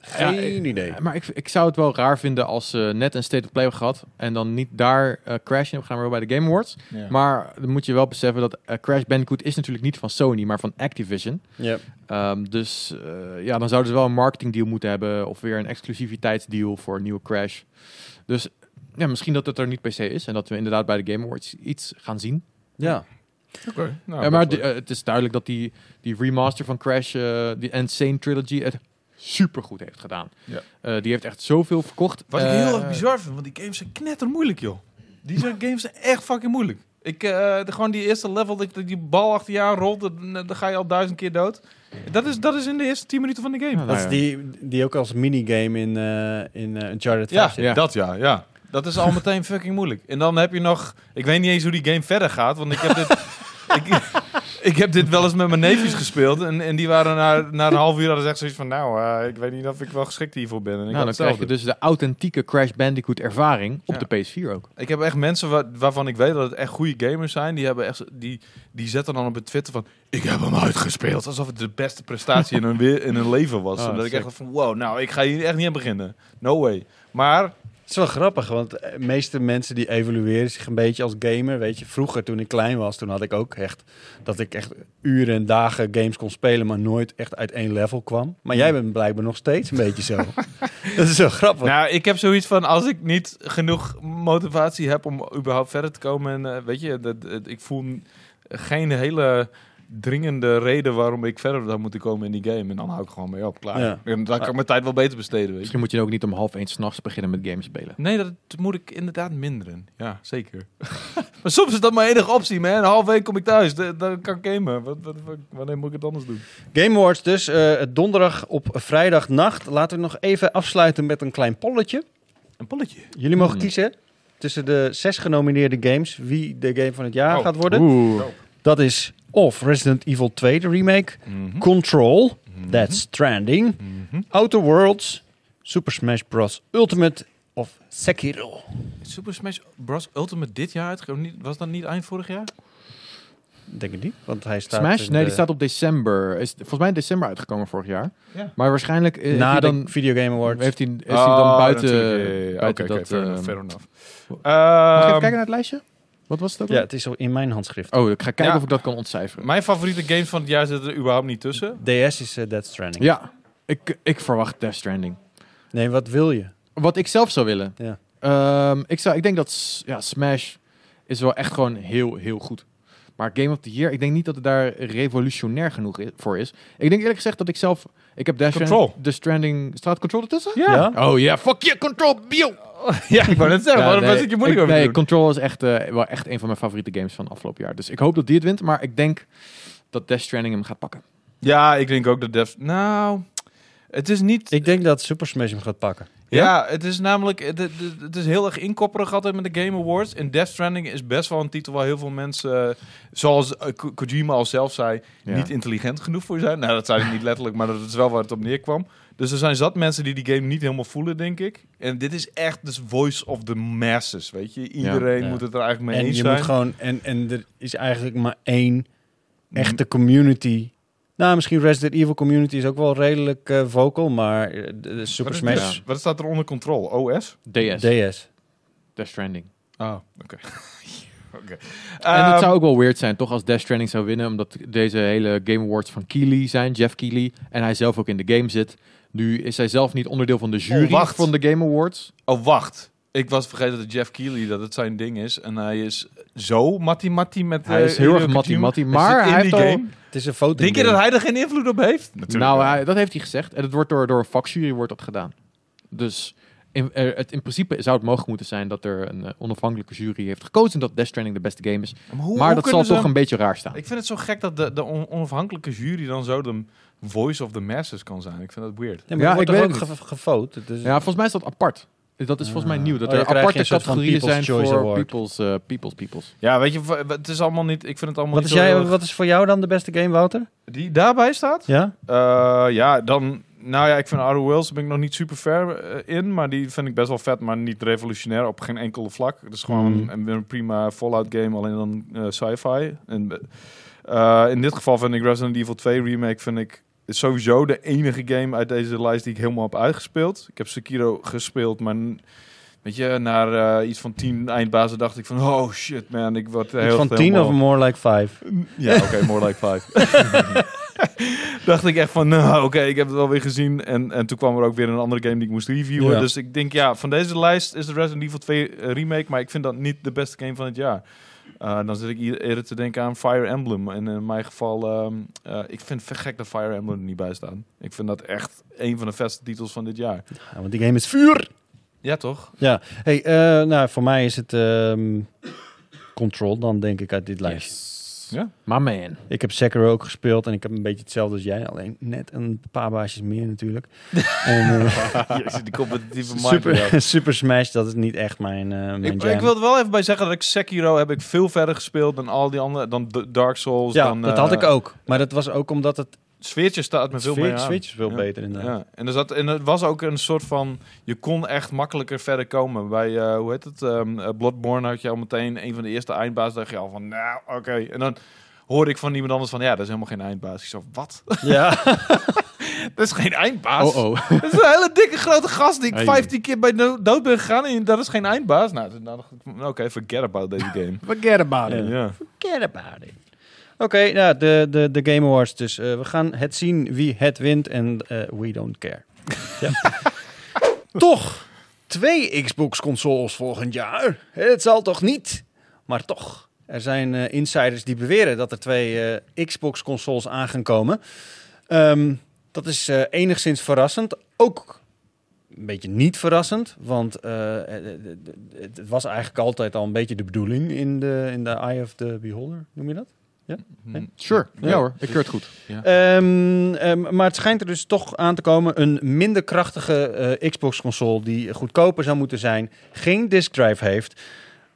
Geen
Ja, ik-
idee.
Maar ik, ik zou het wel raar vinden als ze net een State of Play hebben gehad... en dan niet daar eh, Crash in hebben gaan, maar wel bij de Game Awards. Maar dan moet je wel beseffen dat eh, Crash Bandicoot is natuurlijk niet van Sony, maar van Activision.
Ja.
Ehm, dus eh, ja, dan zouden ze wel een marketingdeal moeten hebben of weer een exclusiviteitsdeal voor een nieuwe Crash. Dus ja, misschien dat het er niet per se is en dat we inderdaad bij de Game Awards iets gaan zien.
ja.
Oké. Nou,
Ja, maar
dat-
de- eh, het is duidelijk dat die, die remaster van Crash, eh die Insane Trilogy, het supergoed heeft gedaan.
Ja.
Eh, die heeft echt zoveel verkocht.
Wat ik
Eh,
heel erg bizar vind, want die games zijn knettermoeilijk, joh. Die zijn games zijn echt fucking moeilijk. Ik, eh, de, gewoon die eerste level, dat dat die bal achter je aan rolt, dan, dan ga je al duizend keer dood. Dat is, dat is in de eerste 10 minuten van de game.
Ja,
Dat
nou
is
ja.
die, die ook als minigame in, eh in eh, Uncharted 5
Ja,
zit.
Ja.
dat ja, ja. Dat is al meteen fucking moeilijk. En dan heb je nog... Ik weet niet eens hoe die game verder gaat, want ik heb dit... ik, ik heb dit wel eens met mijn neefjes gespeeld. En, en die waren na, na een half uur hadden ze echt zoiets van... Nou, eh, ik weet niet of ik wel geschikt hiervoor ben. En ik had
Nou, dan krijg
hetzelfde.
je dus de authentieke Crash Bandicoot ervaring op
Ja.
de PS4 ook.
Ik heb echt mensen wa- waarvan ik weet dat het echt goede gamers zijn. Die, hebben echt, zo- die, die zetten dan op het Twitter van... Ik heb hem uitgespeeld. Alsof het de beste prestatie in hun, we- in hun leven was.
Ah,
Omdat ik
sick.
echt dacht van... Wow, nou, ik ga hier echt niet aan beginnen. No way. Maar...
Het is wel grappig, want eh, de meeste mensen die evalueren zich een beetje als gamer. Weet je, vroeger toen ik klein was, toen had ik ook echt dat ik echt uren en dagen games kon spelen, maar nooit echt uit één level kwam. Maar jij bent blijkbaar nog steeds een beetje zo. dat is wel grappig.
Nou, ik heb zoiets van... Als ik niet genoeg motivatie heb om überhaupt verder te komen... En eh, weet je, dat, dat- ik voel geen hele dringende reden waarom ik verder zou moeten komen in die game. En dan hou ik gewoon mee op. Klaar.
Ja.
En dan
Ah.
kan ik mijn tijd wel beter besteden, weet je.
Misschien moet je ook niet om half één s'nachts beginnen met games spelen.
Nee, dat moet ik inderdaad minderen. Ja, zeker. maar soms is dat mijn enige optie, man. Een half week kom ik thuis. Da- Dan kan ik gamen. Wat, wat, wat- wanneer moet ik het anders doen?
Game Awards dus, eh, donderdag op vrijdagnacht. Laten we nog even afsluiten met een klein polletje.
Een polletje.
Jullie mogen
Hmm.
kiezen tussen de zes genomineerde games wie de game van het jaar
Oh.
gaat worden.
Oeh.
Dat is of Resident Evil 2, de remake.
Mhm.
Control,
Mhm.
That's Stranding.
Mhm.
Outer Worlds, Super Smash Bros. Ultimate of Sekiro.
Super Smash Bros. Ultimate dit jaar uitgekomen? Niet- Was dat niet eind vorig jaar?
Denk ik niet, want hij staat...
Smash?
in
Nee,
de-
die staat op december. Is volgens mij in december uitgekomen vorig jaar.
Ja.
Maar waarschijnlijk eh, heeft
Na
hij
de
dan,
Video Game Awards.
heeft hij, heeft hij
Ah, Oh,
dan buiten,
Oké,
buiten
oké,
dat...
fair
eh,
enough, fair enough.
mag ik even
Ehm,
kijken naar het lijstje? Wat was het ook?
Ja,
alweer?
het is al in mijn handschrift.
Oh, ik ga kijken
Ja.
of ik dat kan ontcijferen.
Mijn favoriete games van het jaar zitten er überhaupt niet tussen.
DS is eh, Death Stranding.
Oh. Ja, ik, ik verwacht Death Stranding.
Nee, wat wil je?
Wat ik zelf zou willen.
Ja.
Ehm, ik, zou, ik denk dat S- ja, Smash is wel echt gewoon heel, heel goed. Maar Game of the Year, ik denk niet dat het daar revolutionair genoeg i- voor is. Ik denk eerlijk gezegd dat ik zelf... Ik heb Death Strand-
Control.
Death Stranding... Staat Control ertussen?
Ja?
Oh ja, fuck yeah, Control, bio!
ja, ik wou net zeggen,
Ja,
waarom
nee,
was ik je moeilijk
ik-
over te
nee,
doen?
Control is echt, eh, wel echt een van mijn favoriete games van afgelopen jaar. Dus ik hoop dat die het wint. Maar ik denk dat Death Stranding hem gaat pakken.
Ja, ik denk ook dat Dev... Nou, het is niet...
Ik denk dat Super Smash hem gaat pakken.
Ja, het is namelijk... Het, het- het is heel erg inkopperig altijd met de Game Awards. En Death Stranding is best wel een titel waar heel veel mensen... eh, zoals eh, Ko- Kojima al zelf zei,
Ja.
niet intelligent genoeg voor zijn. Nou, dat zei hij niet letterlijk, maar dat is wel waar het op neerkwam. Dus er zijn zat mensen die die game niet helemaal voelen, denk ik. En dit is echt dus voice of the masses, weet je. Iedereen
Ja.
moet het er eigenlijk mee
En
eens
je Mhm.
zijn.
moet gewoon... En, en er is eigenlijk maar één echte community... Nou, misschien Resident Evil community is ook wel redelijk eh, vocal, maar eh, de- de Super
wat, is-
Smash...
Ja.
wat staat er onder controle? OS?
DS.
DS.
Death Stranding.
Ah, oké. Oké.
En
Ehm,
het zou ook wel weird zijn, toch, als Death Stranding zou winnen. Omdat deze hele Game Awards van Keely zijn, Jeff Keely. En hij zelf ook in de game zit. Nu is hij zelf niet onderdeel van de jury
Oh, wacht.
van de Game Awards.
Oh, wacht. Ik was vergeten dat Jeff Keighley, dat het zijn ding is. En hij is zo mattie-mattie met...
Hij
eh,
is heel erg
Hideo Kojima.
mattie-mattie,
zit
maar
in
hij
die
heeft al-
game.
Het is een foto.
Denk je dat hij er geen invloed op heeft?
nou, hij- dat heeft hij gezegd. En het wordt door, door een vakjury wordt dat gedaan. Dus in, eh, het, in principe zou het mogelijk moeten zijn dat er een eh, onafhankelijke jury heeft gekozen dat Death Stranding de beste game is.
maar hoe,
maar
hoe
dat zal
kunnen ze-
toch een beetje raar staan.
Ik vind het zo gek dat de, de on- onafhankelijke jury dan zo de voice of the masses kan zijn. Ik vind dat weird.
Ja,
Ja,
maar
ik
wordt er
weet
wordt
het
ook ge- gevoten. Dus
Ja, volgens mij is dat apart. Dat is volgens mij
Ah.
nieuw. Dat
Oh, dan
er
krijg je
aparte
een soort van
categorieën zijn
People's Choice
voor
Award.
people's, eh, people's Peoples.
Ja, weet je, v- het is allemaal niet... Ik vind het allemaal
wat,
niet
is
zo
jij,
heel erg-
wat is voor jou dan de beste game, Wouter?
Die daarbij staat?
Ja?
Eh, ja, dan... Nou ja, ik vind Outer Worlds, daar ben ik nog niet super ver eh, in. Maar die vind ik best wel vet, maar niet revolutionair op geen enkele vlak. Het is gewoon
Mhm.
een, een prima Fallout game, alleen dan eh, sci-fi. En, eh, in dit geval vind ik Resident Evil 2 Remake vind ik is sowieso de enige game uit deze lijst die ik helemaal heb uitgespeeld. Ik heb Sekiro gespeeld, maar... n- Weet je, na eh, iets van tien eindbazen dacht ik van... Oh shit, man, ik word heel
Iets van 10
helemaal-
of more like 5?
ja, oké, more like five. Dacht ik echt van, nou oké, ik heb het wel weer gezien. En, en toen kwam er ook weer een andere game die ik moest reviewen.
Ja.
Dus ik denk, ja, van deze lijst is de Resident Evil 2 remake. Maar ik vind dat niet de beste game van het jaar. Eh, dan zit ik hier eerder te denken aan Fire Emblem. En in mijn geval, ehm, eh, ik vind het gek dat Fire Emblem er niet bij staat. Ik vind dat echt een van de beste titels van dit jaar.
Ja, want die game is vuur!
Ja, toch?
Ja. Hey, eh, nou, voor mij is het ehm, Control dan, denk ik, uit dit lijstje.
Yes.
Ja.
My man.
Ik heb Sekiro ook gespeeld en ik heb een beetje hetzelfde als jij. Alleen net een paar baasjes meer natuurlijk. en, eh,
Jezus, die competitieve mind. Ja.
super, super Smash, dat is niet echt mijn, eh mijn
Ik,
jam.
ik wil er wel even bij zeggen dat ik Sekiro heb ik veel verder gespeeld dan al die andere, dan D- Dark Souls.
ja,
dan,
dat
eh,
had ik ook. Maar dat was ook omdat het
Sfeertje staat me veel meer
sfeer-
aan.
Switch veel
Ja.
beter inderdaad.
Ja, en, er zat, en het was ook een soort van, je kon echt makkelijker verder komen. Bij, eh, hoe heet het, ehm, eh, Bloodborne had je al meteen een van de eerste eindbaas, dacht je al van, nou, oké. En dan hoorde ik van iemand anders van, ja, dat is helemaal geen eindbaas. Ik zo, wat?
Ja.
dat is geen eindbaas?
Oh oh.
Dat is een hele dikke grote gast die ik
Hey.
15 keer bij do- dood ben gegaan en dat is geen eindbaas? Nou, toen dacht ik, oké, forget about deze game.
Forget about
it.
ja.
Care about it. Oké, nou, de, de, de Game Awards dus. Eh, we gaan het zien wie het wint en eh, we don't care. Ja. toch twee Xbox-consoles volgend jaar? Het zal toch niet? Maar toch, er zijn eh, insiders die beweren dat er twee eh, Xbox-consoles aan gaan komen. Ehm, dat is eh, enigszins verrassend. Ook een beetje niet verrassend, want eh, het- het- het- het was eigenlijk altijd al een beetje de bedoeling in de, in de Eye of the Beholder, noem je dat?
Hm.
Nee.
Sure. Ja,
Ja.
hoor,
Dus-
ik keur het goed.
Ehm, ehm, maar het schijnt er dus toch aan te komen een minder krachtige eh, Xbox-console die goedkoper zou moeten zijn, geen disk drive heeft,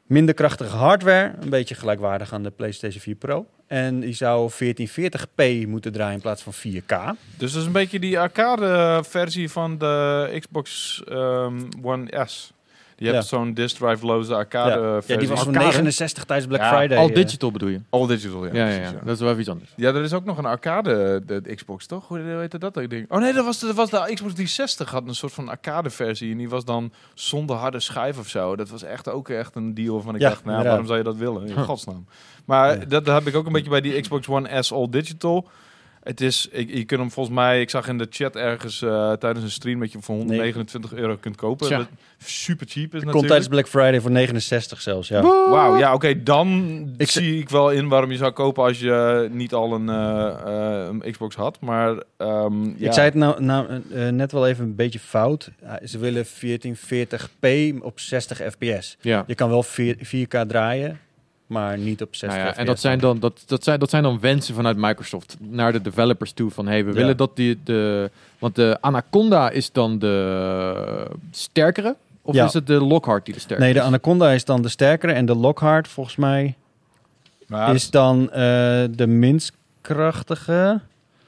Minder krachtige hardware, een beetje gelijkwaardig aan de PlayStation 4 Pro. En die zou 1440p moeten draaien in plaats van 4K.
Dus dat is een beetje die arcade-versie van de Xbox ehm, One S. Je hebt
Ja.
zo'n disc drive loze eh, arcade-versie.
Ja, die was van
Arcade?
69 Dus tijdens Black
Ja,
Friday.
Al
eh.
digital bedoel je?
All digital, ja.
Ja, ja,
precies,
ja. dat is wel even iets anders.
Ja, er is ook nog een arcade eh, de, de Xbox, toch? Hoe heette dat ook ding? Oh nee, dat was de, dat was de Xbox 360 had een soort van arcade versie. En die was dan zonder harde schijf of zo. Dat was echt ook echt een deal van ik
Ja,
dacht, nou,
inderdaad.
waarom zou je dat willen? In godsnaam. Maar
Ja.
dat, dat heb ik ook een beetje bij die Xbox One S All Digital. Het is, ik, je kunt hem volgens mij, ik zag in de chat ergens eh, tijdens een stream dat je hem voor 129 euro kunt kopen.
Tja.
Dat super cheap is
Die Komt
natuurlijk.
tijdens Black Friday voor 69 zelfs, ja.
Wauw, ja, oké, dan
Ik z-
zie ik wel in waarom je zou kopen als je eh, niet al een, eh, eh, een Xbox had. Maar ehm, ja.
Ik zei het nou, nou eh, eh, net wel even een beetje fout. Eh, ze willen 1440p op 60 fps.
Ja.
Je kan wel 4, k draaien, maar niet op 60
Nou ja,
fps.
en dat zijn, dan, dat, dat, zijn, dat zijn dan wensen vanuit Microsoft naar de developers toe. Van hey, we
Ja.
willen dat die de. Want de Anaconda is dan de eh, sterkere. Of
Ja.
is het de Lockhart die de sterkere
Nee, de
is?
Anaconda is dan de sterkere en de Lockhart volgens mij
Maar
is dan eh, de minst krachtige.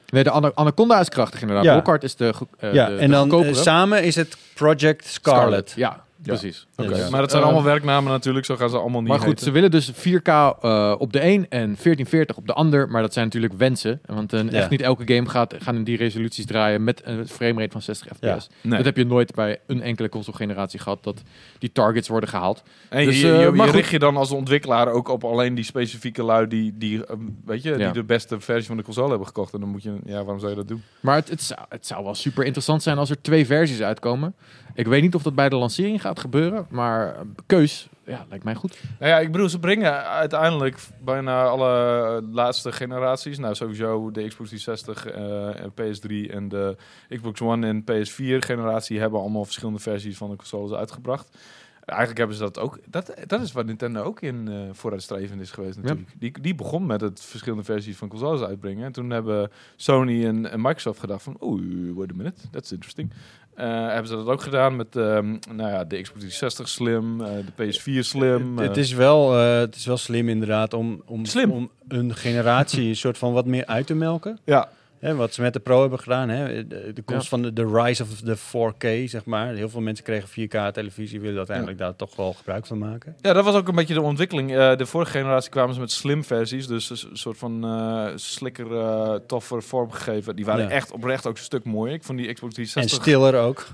Nee, de Ana- Anaconda is krachtig inderdaad.
Ja.
Lockhart is de. go- eh,
ja,
de-
en
de
dan eh,
goedkopere.
samen is het Project Scarlet.
Ja, precies.
Ja,
Oké,
dus-
maar dat zijn
Eh,
allemaal werknamen natuurlijk, zo gaan ze allemaal niet
Maar goed,
heten.
ze willen dus 4K eh, op de een en 1440 op de ander. Maar dat zijn natuurlijk wensen. Want eh,
Ja.
echt niet elke game gaat, gaan in die resoluties draaien met een framerate van 60 fps.
Ja.
Nee.
Dat heb je nooit bij een enkele console generatie gehad. Dat die targets worden gehaald.
En je-
dus,
je,
eh,
je,
maar goed.
richt je dan als ontwikkelaar ook op alleen die specifieke lui die, die, ehm, weet je, die
Ja.
de beste versie van de console hebben gekocht. En dan moet je, ja, waarom zou je dat doen?
Maar het, het, zou, het zou wel super interessant zijn als er twee versies uitkomen. Ik weet niet of dat bij de lancering gaat gebeuren. Maar eh, keus, ja, lijkt mij goed.
Nou ja, ik bedoel, ze brengen uiteindelijk bijna alle laatste generaties. Nou, sowieso de Xbox 360, eh, en PS3 en de Xbox One en PS4 generatie hebben allemaal verschillende versies van de consoles uitgebracht. Eigenlijk hebben ze dat ook. Dat, dat is waar Nintendo ook in eh, vooruitstrevend is geweest natuurlijk. Die, die begon met het verschillende versies van consoles uitbrengen. En toen hebben Sony en, en Microsoft gedacht van... Oeh, wait a minute, that's interesting. Eh, hebben ze dat ook gedaan met ehm, nou ja, de Xbox 360 Slim, eh, de PS4 Slim.
Het,
eh.
het is wel, eh, het is wel slim inderdaad om, om,
Slim.
om een generatie een soort van wat meer uit te melken.
Ja,
Hè, wat ze met de Pro hebben gedaan, hè, de, de komst van de, de rise of the 4K, zeg maar. Heel veel mensen kregen 4K televisie, willen uiteindelijk daar toch wel gebruik van maken.
ja, dat was ook een beetje de ontwikkeling. Eh, de vorige generatie kwamen ze met slim versies, dus een s- soort van eh slikker, eh, toffer vormgegeven. Die waren
Ja.
echt oprecht ook een stuk mooier. Ik vond die Xbox
En
360,
stiller ook.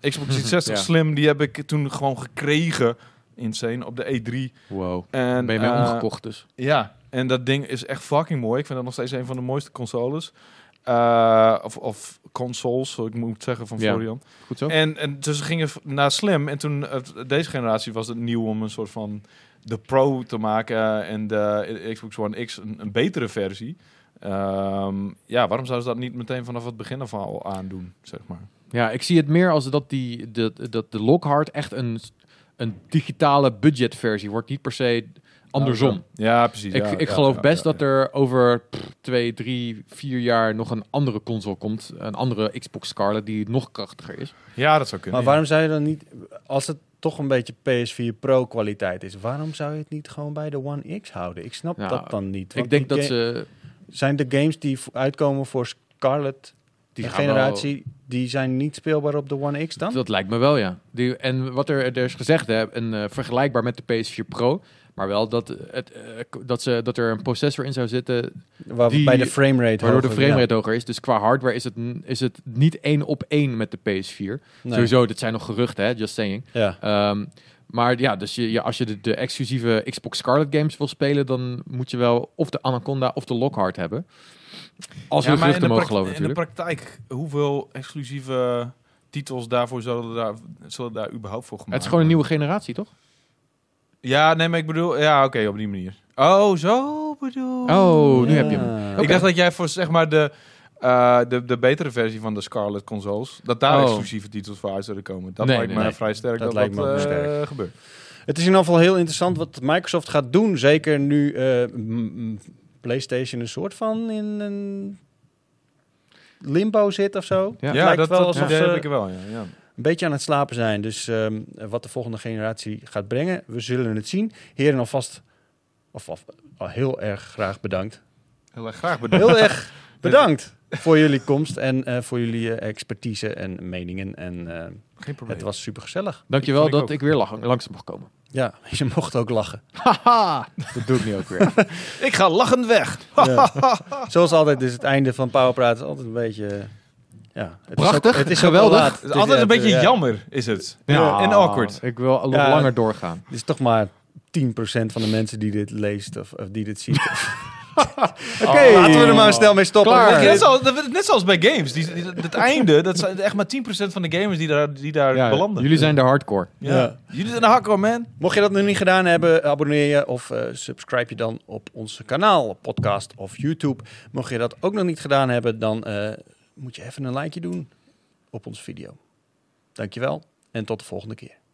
Xbox 360
Ja.
slim, die heb ik toen gewoon gekregen, insane, op de E3.
Wow.
En,
ben je mij
eh,
omgekocht dus.
Ja, en dat ding is echt fucking mooi. Ik vind dat nog steeds een van de mooiste consoles. Eh, of, of consoles, zo ik moet zeggen, van
Ja.
Florian.
Goed zo.
En, en dus ze gingen v- naar Slim. En toen, eh, deze generatie was het nieuw om een soort van de Pro te maken. En de Xbox One X een, een betere versie. Ehm, ja, waarom zouden ze dat niet meteen vanaf het begin af al aandoen, zeg maar?
Ja, ik zie het meer als dat, die, dat, dat de Lockhart echt een, een digitale budgetversie wordt. Niet per se andersom.
Ja, precies.
ik
ja,
ik
ja,
geloof
ja,
best
ja,
dat
ja.
er over pff, twee, drie, vier jaar nog een andere console komt. Een andere Xbox Scarlet die nog krachtiger is.
Ja, dat zou kunnen.
Maar waarom zou je dan niet, als het toch een beetje PS4 Pro kwaliteit is, waarom zou je het niet gewoon bij de One X houden? Ik snap
Ja,
dat dan niet. want
ik denk
die
dat
ga-
ze...
Zijn de games die vo- uitkomen voor Scarlet,
Die
die
gaan wel-
generatie, die zijn niet speelbaar op de One X dan?
Dat lijkt me wel, ja. Die, en wat er, er is gezegd, hè, een, eh, vergelijkbaar met de PS4 Pro... Maar wel dat, het, eh, k- dat, ze, dat er een processor in zou zitten
Waar,
die-
bij de framerate
Waardoor de
hoger, ja.
framerate hoger is. Dus qua hardware is het, n- is het niet één op één met de PS4.
Nee.
Sowieso, dit zijn nog geruchten, hè? just saying.
Ja.
Ehm, maar ja, dus je, ja, als je de, de exclusieve Xbox Scarlet games wil spelen... dan moet je wel of de Anaconda of de Lockhart hebben. Als
Ja,
we
maar in de
geruchten mogen
prak-
geloven natuurlijk.
In de praktijk, hoeveel exclusieve titels daarvoor zullen daar, zullen daar überhaupt voor gemaakt
Het is gewoon een
worden?
nieuwe generatie, toch?
Ja, nee, maar ik bedoel... Ja, oké, op die manier. Oh, zo bedoel
Oh, nu heb je hem.
Ja.
Ik dacht dat jij voor zeg maar de, eh, de, de betere versie van de Scarlet consoles, dat daar
Oh.
exclusieve titels voor uit zullen komen. Dat
Nee,
lijkt
nee,
mij
nee.
vrij sterk
Dat
dat
lijkt
dat,
me ook
eh,
sterk.
gebeurt.
Het is in ieder geval heel interessant wat Microsoft gaat doen. Zeker nu eh, m- m- PlayStation een soort van in een limbo zit of zo.
Ja.
Ja,
Het lijkt
dat,
wel
dat
alsof
idee
ze-
heb ik er wel, ja. ja.
een beetje aan het slapen zijn. Dus ehm, wat de volgende generatie gaat brengen, we zullen het zien. Heren alvast, of, of al heel erg graag bedankt.
Heel erg graag bedankt.
Heel erg bedankt voor jullie komst en eh, voor jullie eh, expertise en meningen. En eh,
Geen probleem.
het was super gezellig.
Dankjewel
Vond ik
dat
ook.
ik weer lang, langs mag komen.
Ja, je mocht ook lachen.
Haha, dat doe ik nu ook weer.
Ik ga lachend weg.
Ja. Zoals altijd is het einde van Powerpraat altijd een beetje... eh, Ja, het Is
Prachtig,
ook, het is
geweldig.
Ook wel laat.
Het is altijd
ja,
een beetje
ja.
jammer, is het.
Ja.
En awkward.
Ik wil nog
Ja.
langer doorgaan.
Het is toch maar 10% van de mensen die dit leest of, of die dit ziet. Oké, laten we er maar snel mee stoppen.
Klaar.
Want dit-
Net zoals, net zoals bij games. Die, die- het einde, dat zijn echt maar 10% van de gamers die daar, die daar
Ja,
belanden.
jullie zijn de hardcore.
Ja.
Ja.
Jullie zijn de hardcore, man.
Mocht je dat nog niet gedaan hebben, abonneer je of eh, subscribe je dan op ons kanaal, op podcast of YouTube. Mocht je dat ook nog niet gedaan hebben, dan eh, moet je even een likeje doen op onze video. Dankjewel en tot de volgende keer.